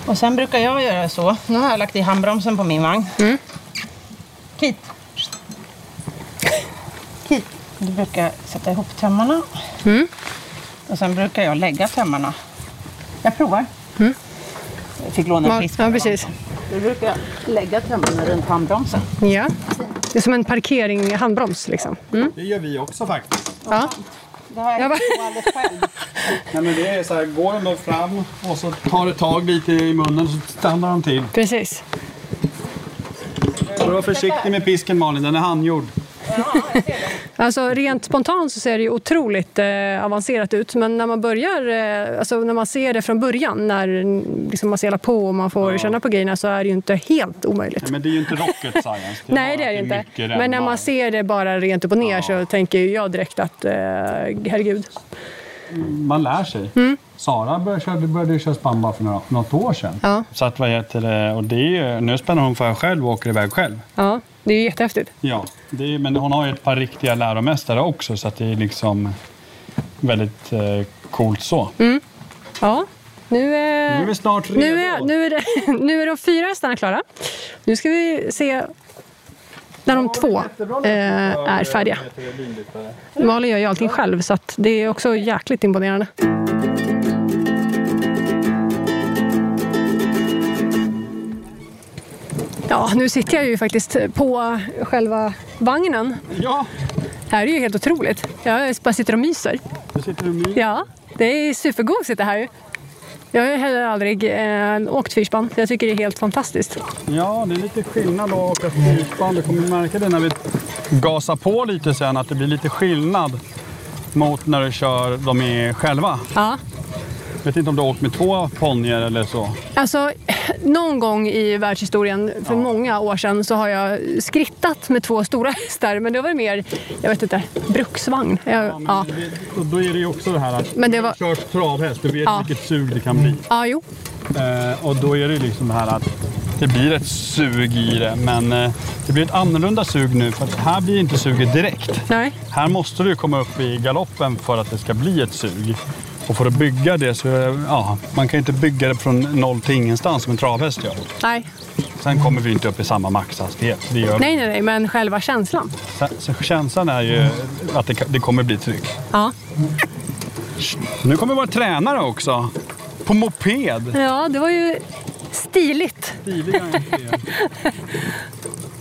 Och sen brukar jag göra så. Nu har jag lagt i handbromsen på min vagn. Mm. Kit. Kit. Då brukar jag sätta ihop tömmarna.
Mm.
Och sen brukar jag lägga tömmarna. Jag provar. Jag fick låna en
Mm. Ja,
fisk.
ja, precis.
Då brukar jag lägga tömmarna runt handbromsen.
Ja. Det är som en parkering handbroms liksom. Mm.
Det gör vi också faktiskt.
Ja.
Det har
Jag
jag
bara-
gjort alldeles själv.
Nej, men det är så här, går de då fram och så tar det tag lite i munnen och så stannar de till.
Precis.
Så var försiktig med pisken Malin, den är handgjord.
Alltså rent spontant så ser det ju otroligt eh, avancerat ut men när man börjar, eh, alltså när man ser det från början när liksom, man selar på och man får
Ja.
känna på grejerna så är det ju inte helt omöjligt.
Nej, men det är ju inte rocket science. är
Nej
bara
det är det
att
inte.
mycket
Men när
rembar.
man ser det bara rent upp och ner
Ja.
så tänker ju jag direkt att eh, herregud.
Man lär sig.
Mm.
Sara började, köra- började ju köra spann bara för några, något år sedan.
Ja.
Så att, vad heter det? Och det är ju, nu spänner hon för själv och åker iväg själv.
Ja, det är ju jättehäftigt.
Ja, det är, men hon har ju ett par riktiga läromästare också så att det är liksom väldigt eh, coolt så.
Ja, nu eh, är...
Nu är vi snart redo.
Mm. Nu är, nu, är det, nu är de fyra hästarna klara. Nu ska vi se när de två eh, är färdiga. Malin gör ju allting själv så att det är också jäkligt imponerande. Ja, nu sitter jag ju faktiskt på själva vagnen.
Ja,
Det här är ju helt otroligt. Jag bara sitter och myser.
nu sitter du med.
Ja, det är supergosigt det här. Jag har ju heller aldrig eh, åkt fyrspann. Jag tycker det är helt fantastiskt.
Ja, det är lite skillnad att åka fyrspann. Du kommer märka det när vi gasar på lite sen att det blir lite skillnad mot när du kör dem i själva.
Ja.
Jag vet inte om du har åkt med två ponnyer eller så.
Alltså, någon gång i världshistorien, för många år sedan, så har jag skrittat med två stora hästar. Men det var mer, jag vet inte, bruksvagn. Jag, ja,
Ja,
men,
men det- och då är det ju också det här att
Men det var-
du har kört travhäst, du vet
Ja.
vilket sug det kan bli.
ja, jo.
Eh, och då är det liksom det här att det blir ett sug i det, men eh, det blir ett annorlunda sug nu för att här blir inte suget direkt.
Nej.
Här måste du komma upp i galoppen för att det ska bli ett sug. Och för att bygga det så, eh, ja, man kan ju inte bygga det från noll till ingenstans som en travhäst gör.
Nej.
Sen kommer vi inte upp i samma maxhastighet. Det gör vi.
nej, nej, nej, men själva känslan.
Sen, så känslan är ju att det, det kommer bli tryck.
Ja,
Nu kommer vår tränare också. På moped.
ja det var ju stiligt.
Stiligare än fel.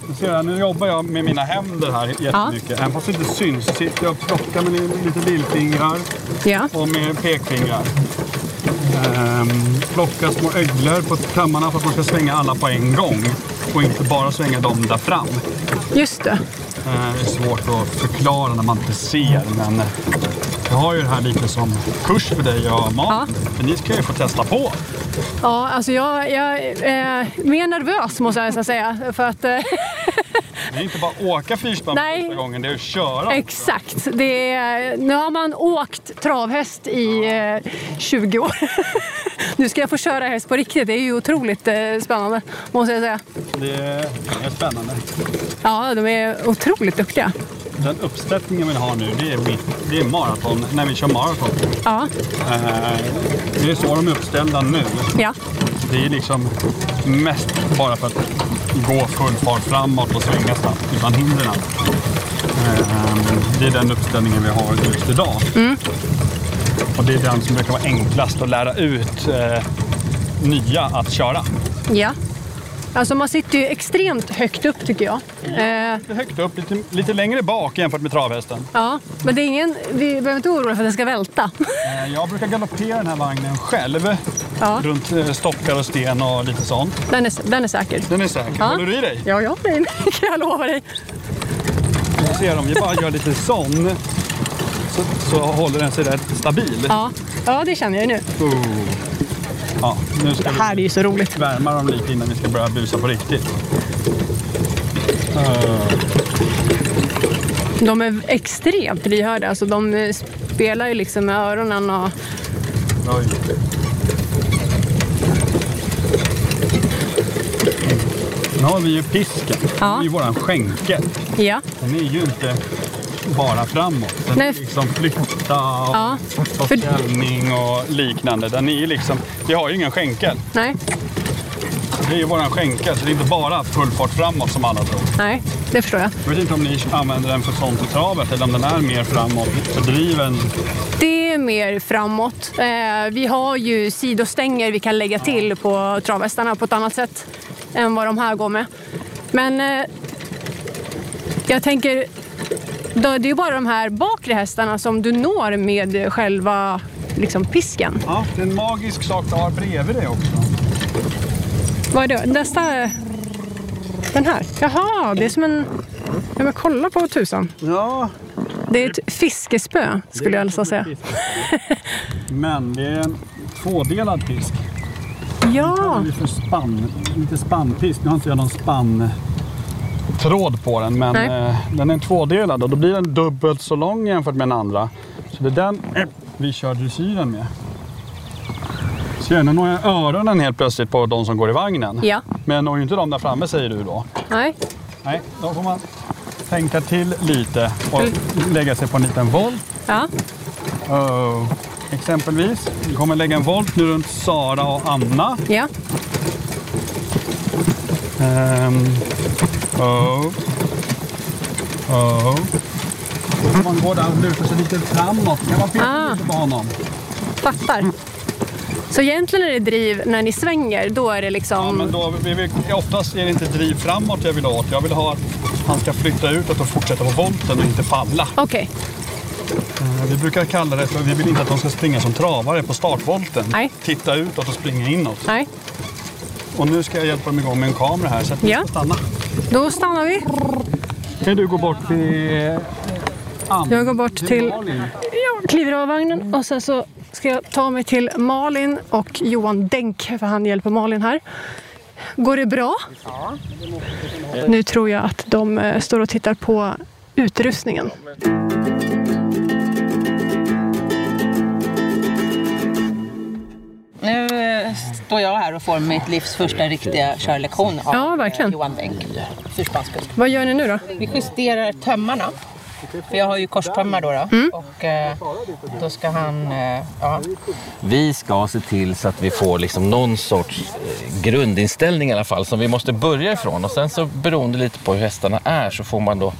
Nu ser jag, Nu jobbar jag med mina händer här jättemycket. Även fast det inte syns så sitter jag och plockar med lite lillfingrar
Ja.
och med pekfingrar. Ehm, plockar små öglor på tömmarna för att man ska svänga alla på en gång. Och inte bara svänga dem där fram.
Just det.
Ehm, det är svårt att förklara när man inte ser. Men jag har ju det här lite som kurs för dig och Malin. Men ni ska ju få testa på.
Ja, alltså jag, jag är mer nervös måste jag nästan säga. För att... Eh,
Det är inte bara att åka fyrspann för
Nej.
första gången, det är att köra.
Exakt. Det är, nu har man åkt travhäst i eh, 20 år. nu ska jag få köra häst på riktigt. Det är ju otroligt eh, spännande, måste jag säga.
Det är, det är spännande.
Ja, de är otroligt duktiga.
Den uppställningen vi har nu, det är, mitt, det är maraton, när vi kör maraton.
Ja,
Eh, Det är så de är uppställda nu.
ja.
Det är liksom mest bara för att gå full fart framåt och svänga snabbt utan hindren. Eh, Det är den uppställningen vi har just idag.
Mm.
Och det är den som brukar vara enklast att lära ut eh, nya att köra.
ja. Alltså man sitter ju extremt högt upp tycker jag. Eh,
Lite högt upp, lite, lite längre bak jämfört med travhästen.
ja. Men det är ingen, vi behöver inte oroa för att den ska välta.
Eh, Jag brukar galoppera den här vagnen själv.
Ja.
Runt eh, stockar och sten och lite sånt.
Den är, den är säker.
Den är säker.
Ja.
Håller du i dig?
Ja, ja, nej, nej, kan jag lova dig.
Du ser om vi bara gör lite sån så, så håller den sig rätt stabil.
Ja. ja, det känner jag ju nu.
Oh. Ja, nu ska
Det här är ju så roligt.
vi värma dem lite innan vi ska börja busa på riktigt.
De är extremt lyhörda. Alltså, de eh, spelar ju liksom med öronen och...
Oj. Nu har vi ju pisken.
Ja.
Det är ju våran skänkel.
Ja.
Den är ju inte bara framåt. Den
Nej.
är liksom flytta och
Ja,
ta
för-
ställning och liknande. Den är ju liksom, vi har ju ingen skänkel.
Nej.
Det är ju våran skänkel, så det är inte bara full fart framåt som alla tror.
Nej, det förstår jag.
Jag vet inte om ni använder den för sånt i travet eller om den är mer framåt fördriven.
Det är mer framåt. Eh, vi har ju sidostänger vi kan lägga till på travhästarna på ett annat sätt än vad de här går med. Men eh, jag tänker, då, det är ju bara de här bakre hästarna som du når med själva liksom, pisken.
Ja, det är en magisk sak du har bredvid dig också.
Vad är det? Nästa... Den här? Jaha, det är som en... Ja, men kolla på tusan.
Ja,
Det är ett fiskespö, skulle jag nästan säga.
Men det är en tvådelad fisk.
Ja,
Det är för spann, inte spannfisk. Nu har inte jag någon spann tråd på den, men
Nej.
eh, den är tvådelad och då blir den dubbelt så lång jämfört med den andra. Så det är den vi kör dressyren med. Ser du, nu når jag öronen helt plötsligt på de som går i vagnen.
Ja.
Men jag når ju inte de där framme säger du då.
nej.
Nej, då får man tänka till lite och
Mm.
lägga sig på en liten volt.
Ja.
Oh. Exempelvis, vi kommer lägga en volt nu runt Sara och Anna.
Ja.
Ehm, oh. Oh. Om man går där och lutar sig lite framåt kan man peka
Ah.
lite på honom.
Fattar. Så egentligen är det driv när ni svänger, då är det
Ja, men
liksom...
då, vi vill, oftast är det inte driv framåt jag vill ha åt. Jag vill ha att han ska flytta ut och fortsätta på volten och inte falla.
Okej,
Eh, Vi brukar kalla det för vi vill inte att de ska springa som travare på startvolten.
Nej.
Titta utåt och springa inåt.
nej.
Och nu ska jag hjälpa dem igång med en kamera här så att ni
Ja.
ska stanna.
Då stannar vi.
Kan du gå bort till Ann?
Jag går bort till- Jag kliver av vagnen och sen så ska jag ta mig till Malin och Johan Denk, för han hjälper Malin här. Går det bra? Nu tror jag att de eh, står och tittar på utrustningen.
Nu eh, står jag här och får mitt livs första riktiga körlektion av
Ja, verkligen.
eh, Johan Denk, fyrspanskurs.
Vad gör ni nu då?
Vi justerar tömmarna. För jag har ju korströmmar då. då.
Mm.
Och eh, då ska han... Eh, ja.
Vi ska se till så att vi får liksom någon sorts eh, grundinställning i alla fall som vi måste börja ifrån. Och sen så beroende lite på hur hästarna är så får man då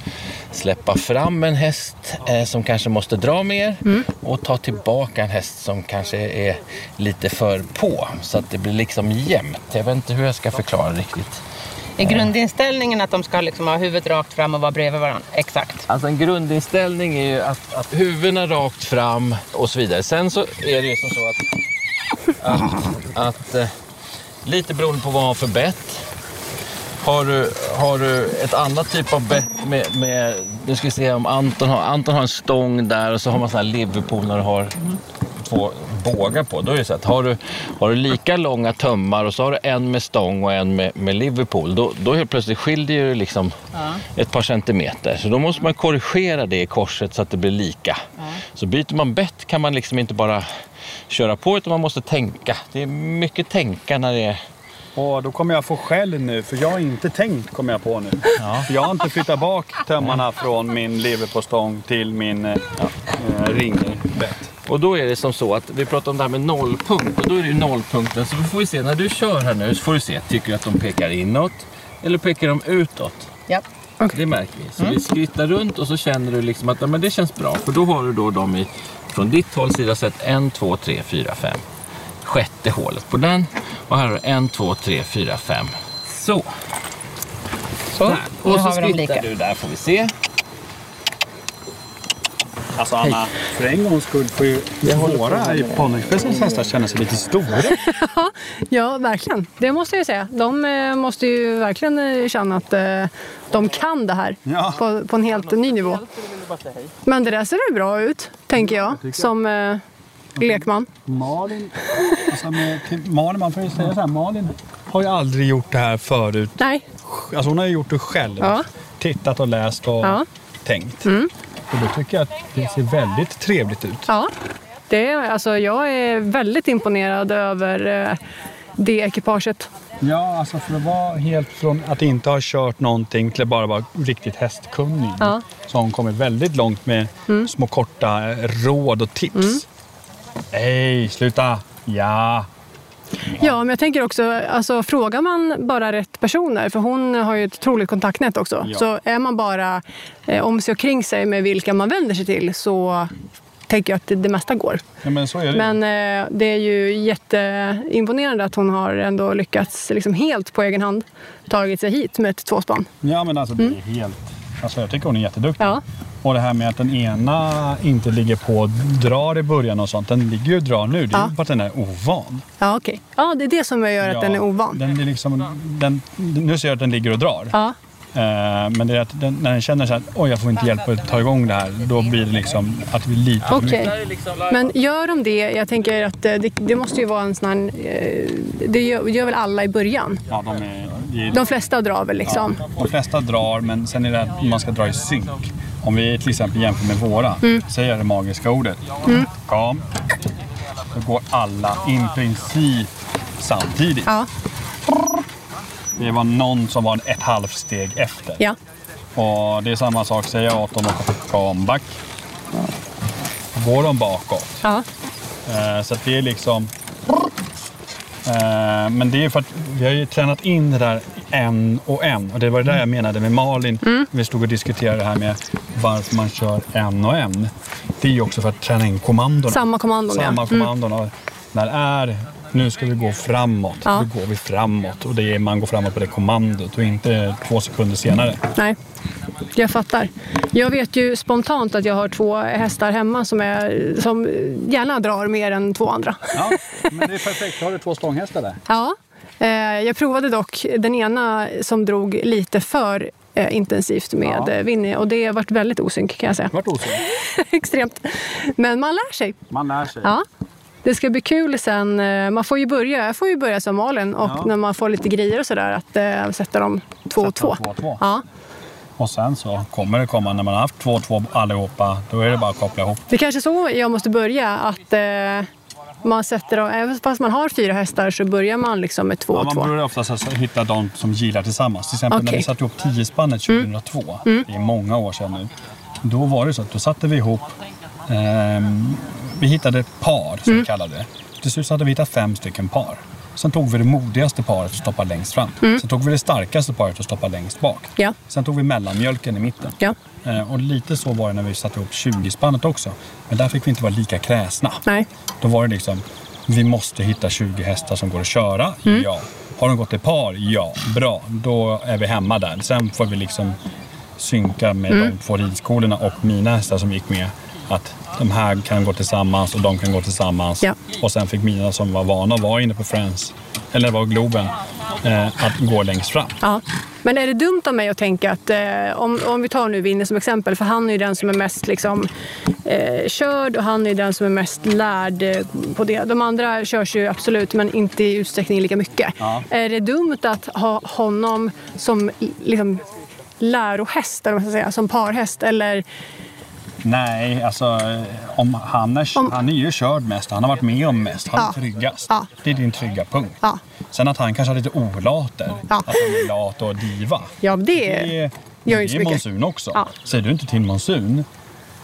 släppa fram en häst eh, som kanske måste dra mer och ta tillbaka en häst som kanske är lite för på. Så att det blir liksom jämnt. Jag vet inte hur jag ska förklara riktigt.
Är grundinställningen att de ska liksom ha huvudet rakt fram och vara bredvid varandra? Exakt.
Alltså en grundinställning är ju att, att huvudena rakt fram och så vidare. Sen så är det ju som så att, att, att eh, lite beroende på vad man har för bett. Har du, har du ett annat typ av bett med, med, nu ska vi se om Anton har, Anton har en stång där och så har man sån här Liverpool när du har två bågar på. Då är det så att har du, har du lika långa tömmar och så har du en med stång och en med, med Liverpool, då, då helt plötsligt skiljer det liksom ett par centimeter. Så då måste man korrigera det i korset så att det blir lika. Så byter man bett kan man liksom inte bara köra på utan man måste tänka. Det är mycket tänka när det är...
Åh, då kommer jag få skäll nu, för jag har inte tänkt, kommer jag på nu. För jag har inte flyttat bak tömmarna från min leverpostång till min eh, eh, ringbett.
Och då är det som så att vi pratar om det här med nollpunkt och då är det ju nollpunkten. Så vi får vi se, när du kör här nu så får du se, tycker du att de pekar inåt eller pekar de utåt?
Ja.
Det märker vi. Så
Mm.
vi skrittar runt och så känner du liksom att ja, men det känns bra. För då har du då dem i, från ditt håll sida sett 1, 2, 3, 4, 5. Sjätte hålet på den. Och här har du 1, 2, 3, 4, 5. Så.
Så,
Där.
nu
Och så
har vi dem
skrittar
lika.
du där får vi se.
Alltså Anna, för en gångs skull får ju våra i ponnyexpressens hästar känna sig lite stora.
Ja, verkligen. Det måste jag ju säga. De eh, måste ju verkligen eh, känna att eh, de kan det här
Ja.
på, på en helt ny nivå. Men det där ser väl bra ut, tänker jag, som eh, lekman.
Malin, alltså med, till Malin, man får ju säga så här, Malin har ju aldrig gjort det här förut.
Nej,
Alltså hon har ju gjort det själv.
Ja.
Tittat och läst och
Ja. Mm.
tänkt. Och då tycker jag att det ser väldigt trevligt ut.
Ja, det är, alltså, jag är väldigt imponerad över eh, det ekipaget.
Ja, alltså för att vara helt från att inte ha kört någonting till att bara vara riktigt hästkunnig.
Ja. Mm.
Så har hon kommit väldigt långt med små korta eh, råd och tips.
Mm.
Nej, sluta! Ja!
Ja, men jag tänker också, alltså, frågar man bara rätt personer, för hon har ju ett otroligt kontaktnät också,
Ja.
så är man bara eh, om sig och kring sig med vilka man vänder sig till så tänker jag att det, det mesta går.
ja men så är det ju.
Men eh, det är ju jätteimponerande att hon har ändå lyckats liksom helt på egen hand tagit sig hit med ett tvåspann.
Ja, men alltså det är helt... Alltså jag tycker hon är jätteduktig.
Mm. Ja.
Och det här med att den ena inte ligger på och drar i början och sånt. Den ligger ju och drar nu. Det är
Ja.
ju bara att den är ovan.
Ja, okej. Ja, det är det som gör att
Ja,
den är ovan.
Den är liksom, den, nu ser jag att den ligger och drar.
Ja,
Eh, Men det är att den, när den känner så här, oj jag får inte hjälp att ta igång det här, då blir det liksom att vi lite för mycket.
Okej. Men gör de det, jag tänker att eh, det, det måste ju vara en sån här... eh, Det gör, gör väl alla i början?
Ja, de, är, det är-
De flesta drar väl liksom?
de flesta drar, men sen är det att man ska dra i synk. Om vi till exempel jämför med våra,
Mm.
säger jag det magiska ordet, kam, då går alla i princip samtidigt.
Ja.
Det var någon som var ett halvt steg efter.
Ja.
Och det är samma sak, säger jag åt dem att kamback. Går de bakåt?
ja.
Eh, Så att det är liksom... Eh, Men det är för att vi har ju tränat in det där en och en. Och det var det där
Mm.
jag menade med Malin. Vi stod och diskuterade det här med varför man kör en och en. Det är ju också för att träna in kommandona.
Samma kommandon, ja. Mm.
Samma kommandon. Och När det är nu ska vi gå framåt,
Ja.
då går vi framåt. Och det är, man går framåt på det kommandot och inte två sekunder senare.
Nej, jag fattar. Jag vet ju spontant att jag har två hästar hemma som, är, som gärna drar mer än två andra.
Ja, men det är perfekt. Då har du två stånghästar där.
Ja. Eh, Jag provade dock den ena som drog lite för eh, intensivt med ja. Vinny och det har varit väldigt osynk kan jag säga.
Vart osynligt.
Extremt. Men man lär sig.
Man lär sig.
Ja. Det ska bli kul sen. eh, Man får ju börja, jag får ju börja som Malin och
Ja.
när man får lite grejer och sådär att eh, sätta dem två och
Sätta
två.
två och två.
Ja.
Och sen så kommer det komma, när man har haft två och två allihopa, då är det bara att koppla ihop.
Det är kanske är så jag måste börja. Att eh, man sätter, dem- även fast man har fyra hästar så börjar man liksom med två
Ja,
och
man
två.
börjar oftast alltså hitta de som gillar tillsammans. Till exempel när
Okej. Mm.
vi satte ihop tiospannet 2002, det är många år sedan nu. Då var det så att då satte vi ihop, ehm, vi hittade ett par som
Mm.
vi kallade det. Till slut så hade vi hittat fem stycken par. Sen tog vi det modigaste paret och stoppade längst fram. Sen tog vi det starkaste paret och stoppade längst bak.
Mm. Ja.
Sen tog vi mellanmjölken i mitten.
Ja.
Eh, Och lite så var det när vi satte ihop 20-spannet också. Men där fick vi inte vara lika kräsna.
Nej.
Då var det liksom, vi måste hitta 20 hästar som går att köra.
Mm.
Ja. Har de gått i par? Ja. Bra, då är vi hemma där. Sen får vi liksom synka med
Mm.
de två ridskolorna och mina hästar som gick med. Att de här kan gå tillsammans och de kan gå tillsammans.
Ja.
Och sen fick mina som var vana att vara inne på Friends, eller var Globen, eh, att gå längst fram.
Ja. Men är det dumt av mig att tänka att eh, om, om vi tar nu Vinny som exempel, för han är ju den som är mest liksom, eh, körd och han är ju den som är mest lärd eh, på det. De andra körs ju absolut, men inte i utsträckning lika mycket.
Ja.
Är det dumt att ha honom som i- liksom, lärohäst, eller vad man ska säga, som parhäst? Eller,
Nej, alltså eh, om han, är,
Om-
han är ju körd mest. Han har varit med om mest. Han är
Ja.
tryggast.
Ja.
Det är din trygga punkt.
Ja.
Sen att han kanske har lite olater.
Ja.
Att han är lat och diva.
ja, det är...
Det är, det
gör inte så
är
mycket.
monsun också.
Ja.
Säger du inte till monsun,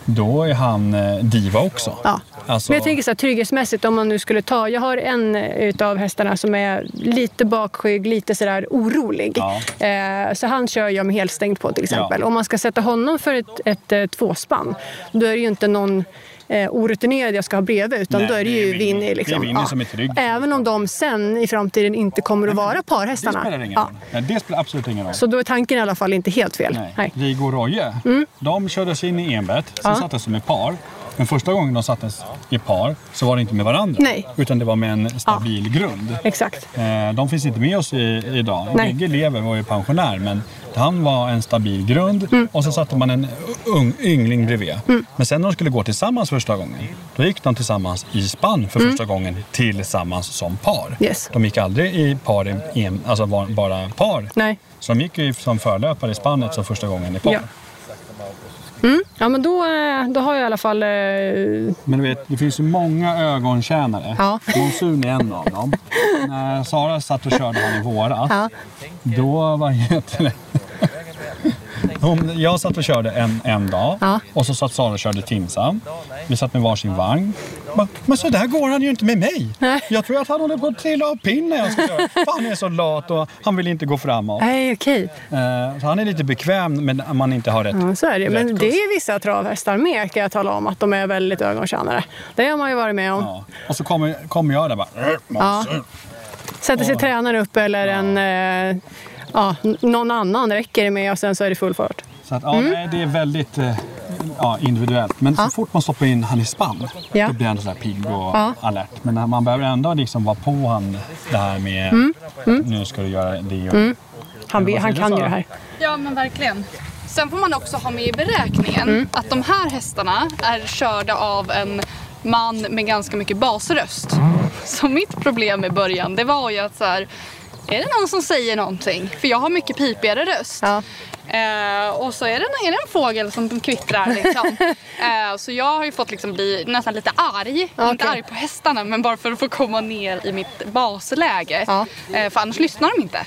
då är han eh, diva också.
Ja.
Alltså,
Men jag tänker så här, trygghetsmässigt om man nu skulle ta, jag har en eh, utav hästarna som är lite bakskygg, lite sådär orolig.
Ja.
Eh, så han kör jag med helstängt på till exempel.
Ja.
Om man ska sätta honom för ett, ett eh, tvåspann, då är det ju inte någon eh, orutinerad jag ska ha bredvid utan
Nej,
då är det
det är
ju
Winnie. Det
Winnie.
är
Liksom.
Winnie som är trygg.
Även om de sen i framtiden inte kommer att vara
det
parhästarna.
spelar ingen
Ja.
roll. Nej, det spelar absolut ingen roll.
Så då är tanken i alla fall inte helt fel.
Nej.
Nej. Mm.
Rigo och Roje, de kördes in i enbett, sen
Ja.
sattes de i par. Men första gången de sattes i par så var det inte med varandra,
Nej.
utan det var med en stabil grund.
Exakt.
Eh, De finns inte med oss i, idag.
Nej.
Vigge lever och är pensionär, men han var en stabil grund
Mm.
och så satte man en ung, yngling bredvid. Men sen när de skulle gå tillsammans första gången, då gick de tillsammans i spann för första gången tillsammans som par.
Mm. Yes.
De gick aldrig i par, i en, alltså var, bara par.
Nej.
Så de gick ju som förlöpare i spannet som första gången i par.
Ja. Ja, men då, eh, då har jag i alla fall... Eh,
Men du vet, det finns ju många ögontjänare.
Ja.
Monsun är en av dem. När Sara satt och körde han i våras,
Ja.
då var heter det? Hon, jag satt och körde en, en dag
Ja.
och så satt Sara och körde Timsan. Vi satt med varsin vagn. Bara, Men så där går han ju inte med mig. Jag tror att han håller på att trilla av pinnen när jag ska köra. För Han är så lat och han vill inte gå framåt.
nej, Mm. okej.
Eh, Så han är lite bekväm men man inte har rätt.
Ja, så är det. Men
Rätt
det är vissa travhästar med kan jag tala om att de är väldigt ögontjänare. Det har man ju varit med om.
Ja. Och så kommer, kommer jag där bara. "Rrr, Monsun."
Sätter sig tränare upp eller en, eh, ja, n- någon annan räcker det med och sen så är det full fart.
Så att, ja,
Mm.
nej, det är väldigt eh, ja, individuellt. Men så fort man stoppar in han i spann,
Ja.
då blir han så här pigg och
Ja.
alert. Men
Mm.
man behöver ändå liksom vara på han det här med nu ska du göra det och
Han, han kan ju det här.
Ja, men verkligen. Sen får man också ha med i beräkningen
Mm.
att de här hästarna är körda av en man med ganska mycket basröst.
Ah.
Så mitt problem i början, det var ju att så här, är det någon som säger någonting? För jag har mycket pipigare röst.
Ja.
Eh, och så är det, är det en fågel som kvittrar liksom. eh, så jag har ju fått liksom bli nästan lite arg. Inte
Okej.
arg på hästarna men bara för att få komma ner i mitt basläge.
Ja.
Eh, för annars lyssnar de inte.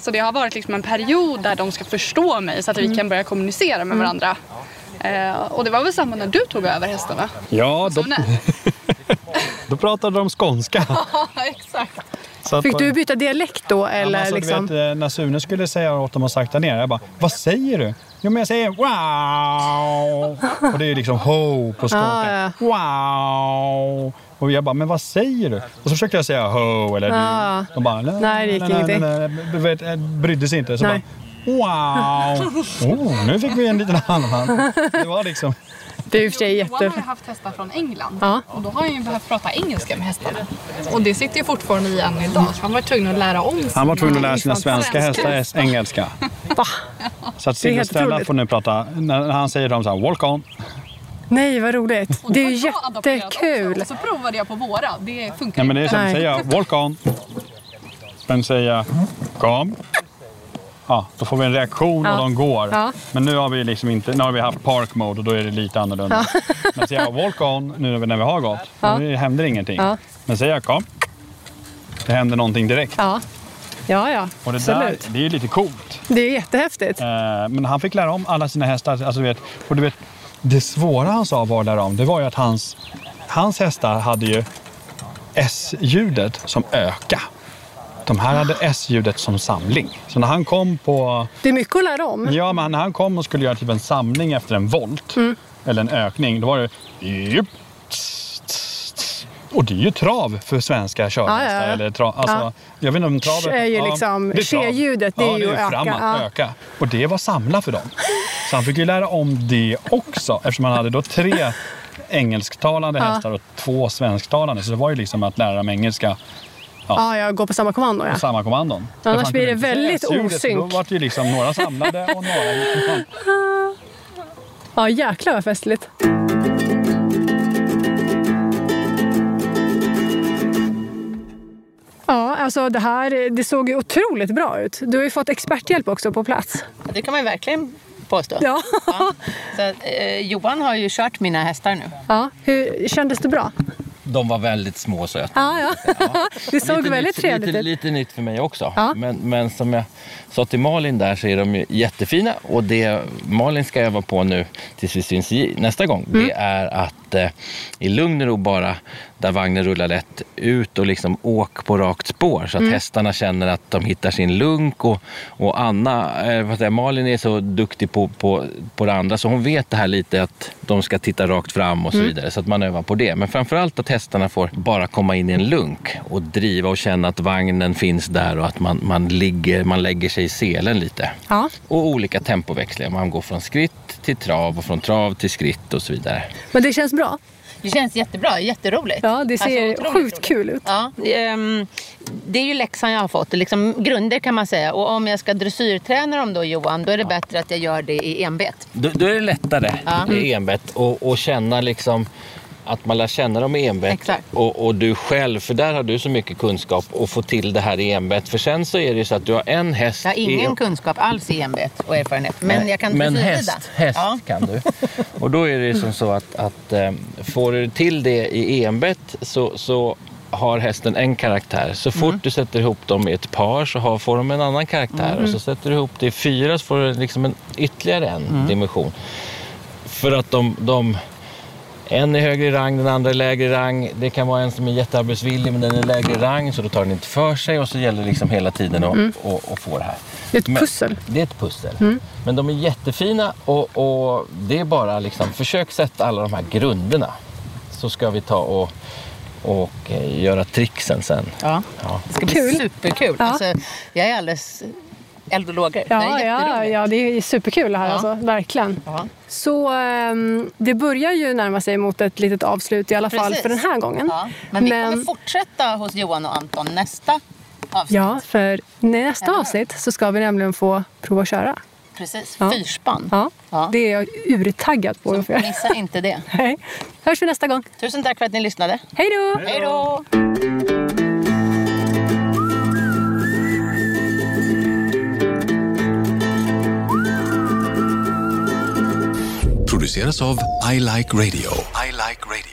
Så det har varit liksom en period där de ska förstå mig så att
Mm.
vi kan börja kommunicera med varandra. Eh, och det var väl samma när du tog över hästarna?
Ja, då,
Som när?
då pratade de skånska.
Ja, exakt.
Så att-
Fick du byta dialekt då?
Ja, men
Eller
alltså, du
liksom?
vet, eh, när Sune skulle säga åt dem att sakta ner, jag bara “Vad säger du?” Jo men jag säger “Wow!” Och det är ju liksom “Ho” på skånska.
Ja,
“Wow!” Och jag bara “Men vad säger du?” Och så försökte jag säga “Ho” eller
Ja.
“Du”. De bara "La,
Nej, det gick
la, la, la,
ingenting.
la, la." Du vet, eh, Brydde sig inte. Så
Nej.
bara “Wow!” oh, Nu fick vi en liten annan. Det var liksom...
Det är i och för sig
Johan
jätte...
har ju haft hästar från England
Ja.
och då har han ju behövt prata engelska med hästarna. Och det sitter ju fortfarande i än idag så han var tvungen att lära om sig.
Han var tvungen att lära sina svenska
svenska
hästar engelska.
Va?
Så att
Det är helt
Silverstella
otroligt.
får nu prata, när han säger dem så här “Walk on”.
Nej, vad roligt. Det är ju
Jag har adopterat också.
jättekul.
Och Så provade jag på våra, det funkar
Nej, men det är
inte.
som
Nej.
säger jag walk on. Sen säger jag kom. Ja, då får vi en reaktion
Ja.
och de går.
Ja.
Men nu har vi liksom inte, nu har vi haft park mode och då är det lite annorlunda. Men säger jag walk on nu när vi- när vi har gått,
Ja.
nu händer ingenting.
Ja.
Men säger jag kom, det händer någonting direkt.
Ja, ja, ja.
Och det där,
absolut.
det är ju lite coolt.
Det är jättehäftigt.
Eh, Men han fick lära om alla sina hästar. Alltså, du vet, och du vet, det svåra han sa var att lära om, det var ju att hans, hans hästar hade ju S-ljudet som öka. De här hade S-ljudet som samling. Så när han kom på...
Det är mycket att lära om.
Ja, men när han kom och skulle göra typ en samling efter en volt,
Mm.
eller en ökning, då var det... Jup, tss, tss, tss. Och det är ju trav för svenska körhästar.
Ja, ja, ja.
Eller tra, alltså,
Ja.
Jag vet inte om travet...
Sh är ju
ja,
liksom-
det är trav.
sh-ljudet, det är
ja,
ju
det är
öka,
Framåt,
ja.
öka. Och det var samla för dem. Så han fick ju lära om det också eftersom han hade då tre engelsktalande hästar och två svensktalande. Så det var ju liksom att lära dem engelska
Ja, jag går på samma kommando. Ja.
samma kommandon.
Ja, annars
För fan
blir det
kunde inte
väldigt
säga ljudet, för Då
osynk.
var det ju liksom några samlade och några gick ifrån.
ja, jäklar vad festligt. Ja, alltså det här det såg ju otroligt bra ut. Du har ju fått experthjälp också på plats.
Det kan man ju verkligen påstå.
Ja.
Ja. Så, att, eh, Johan har ju kört mina hästar nu.
Ja, hur kändes det bra?
De var väldigt små och söta.
Ja, ja. Det såg
Lite
väldigt
nytt-
trevligt
lite,
ut.
lite nytt för mig också.
Ja.
Men, men som jag sa till Malin där så är de ju jättefina. Och det Malin ska öva på nu tills vi syns i, nästa gång,
Mm.
det är att eh, i lugn och ro bara, där vagnen rullar lätt ut och liksom åk på rakt spår
Mm.
så att hästarna känner att de hittar sin lunk. Och, och Anna, eh, vad säger jag, Malin är så duktig på, på, på det andra så hon vet det här lite att de ska titta rakt fram och så vidare. Så att man övar på det. Men framför allt att hästarna får bara komma in i en lunk och driva och känna att vagnen finns där och att man, man, ligger, man lägger sig i selen lite.
Ja.
Och olika tempoväxlingar. Man går från skritt till trav och från trav till skritt och så vidare.
Men det känns bra.
Det känns jättebra, jätteroligt.
Ja, det ser
otroligt
sjukt
roligt.
kul ut.
Ja, ehm, det är ju läxan jag har fått, liksom grunder kan man säga. Och om jag ska dressyrträna dem då Johan, då är det bättre att jag gör det i enbet.
Då, då är det lättare
Ja. Mm.
i enbett och, och känna liksom att man lär känna dem i enbett
Exakt.
och, och du själv, för där har du så mycket kunskap och få till det här i enbett. För sen så är det ju så att du har en häst
Jag har ingen
i
kunskap alls i enbet och erfarenhet, men jag kan
men
dressyrrida.
häst, häst
Ja.
kan du. Och då är det ju som så att, att eh, får du till det i enbett så, så har hästen en karaktär. Så fort
Mm.
du sätter ihop dem i ett par så har, får de en annan karaktär.
Mm.
Och så sätter du ihop det i fyra så får du liksom en, ytterligare en
Mm.
dimension. För att de, de en är högre i rang, den andra är lägre i rang. Det kan vara en som är jättearbetsvillig men den är lägre i rang så då tar den inte för sig och så gäller det liksom hela tiden att
Mm.
och, och få det här.
Det är ett
Men-
pussel.
det är ett pussel. Men de är jättefina och, och det är bara liksom, försök sätta alla de här grunderna. Så ska vi ta och, och eh, göra tricksen sen.
Ja.
Ja.
Det ska bli
Kul.
superkul.
Ja.
Alltså, jag är alldeles eld och lågor. det
Ja,
är
ja,
jätteroligt.
ja, det är superkul det här
Ja.
alltså, verkligen.
Ja.
Så ehm, det börjar ju närma sig mot ett litet avslut i alla fall
Precis.
för den här gången.
Ja, men vi
Men-
kommer fortsätta hos Johan och Anton nästa
avsnitt.
Ja, för nästa avsnitt så ska vi nämligen få prova att köra.
Precis,
Ja.
fyrspann.
Ja,
Ja.
det är jag urtaggad på.
Så missa inte det.
Hej. Hörs vi nästa gång.
Tusen tack för att ni lyssnade.
Hej då!
Hej då!
Produceras av I Like Radio. I like radio.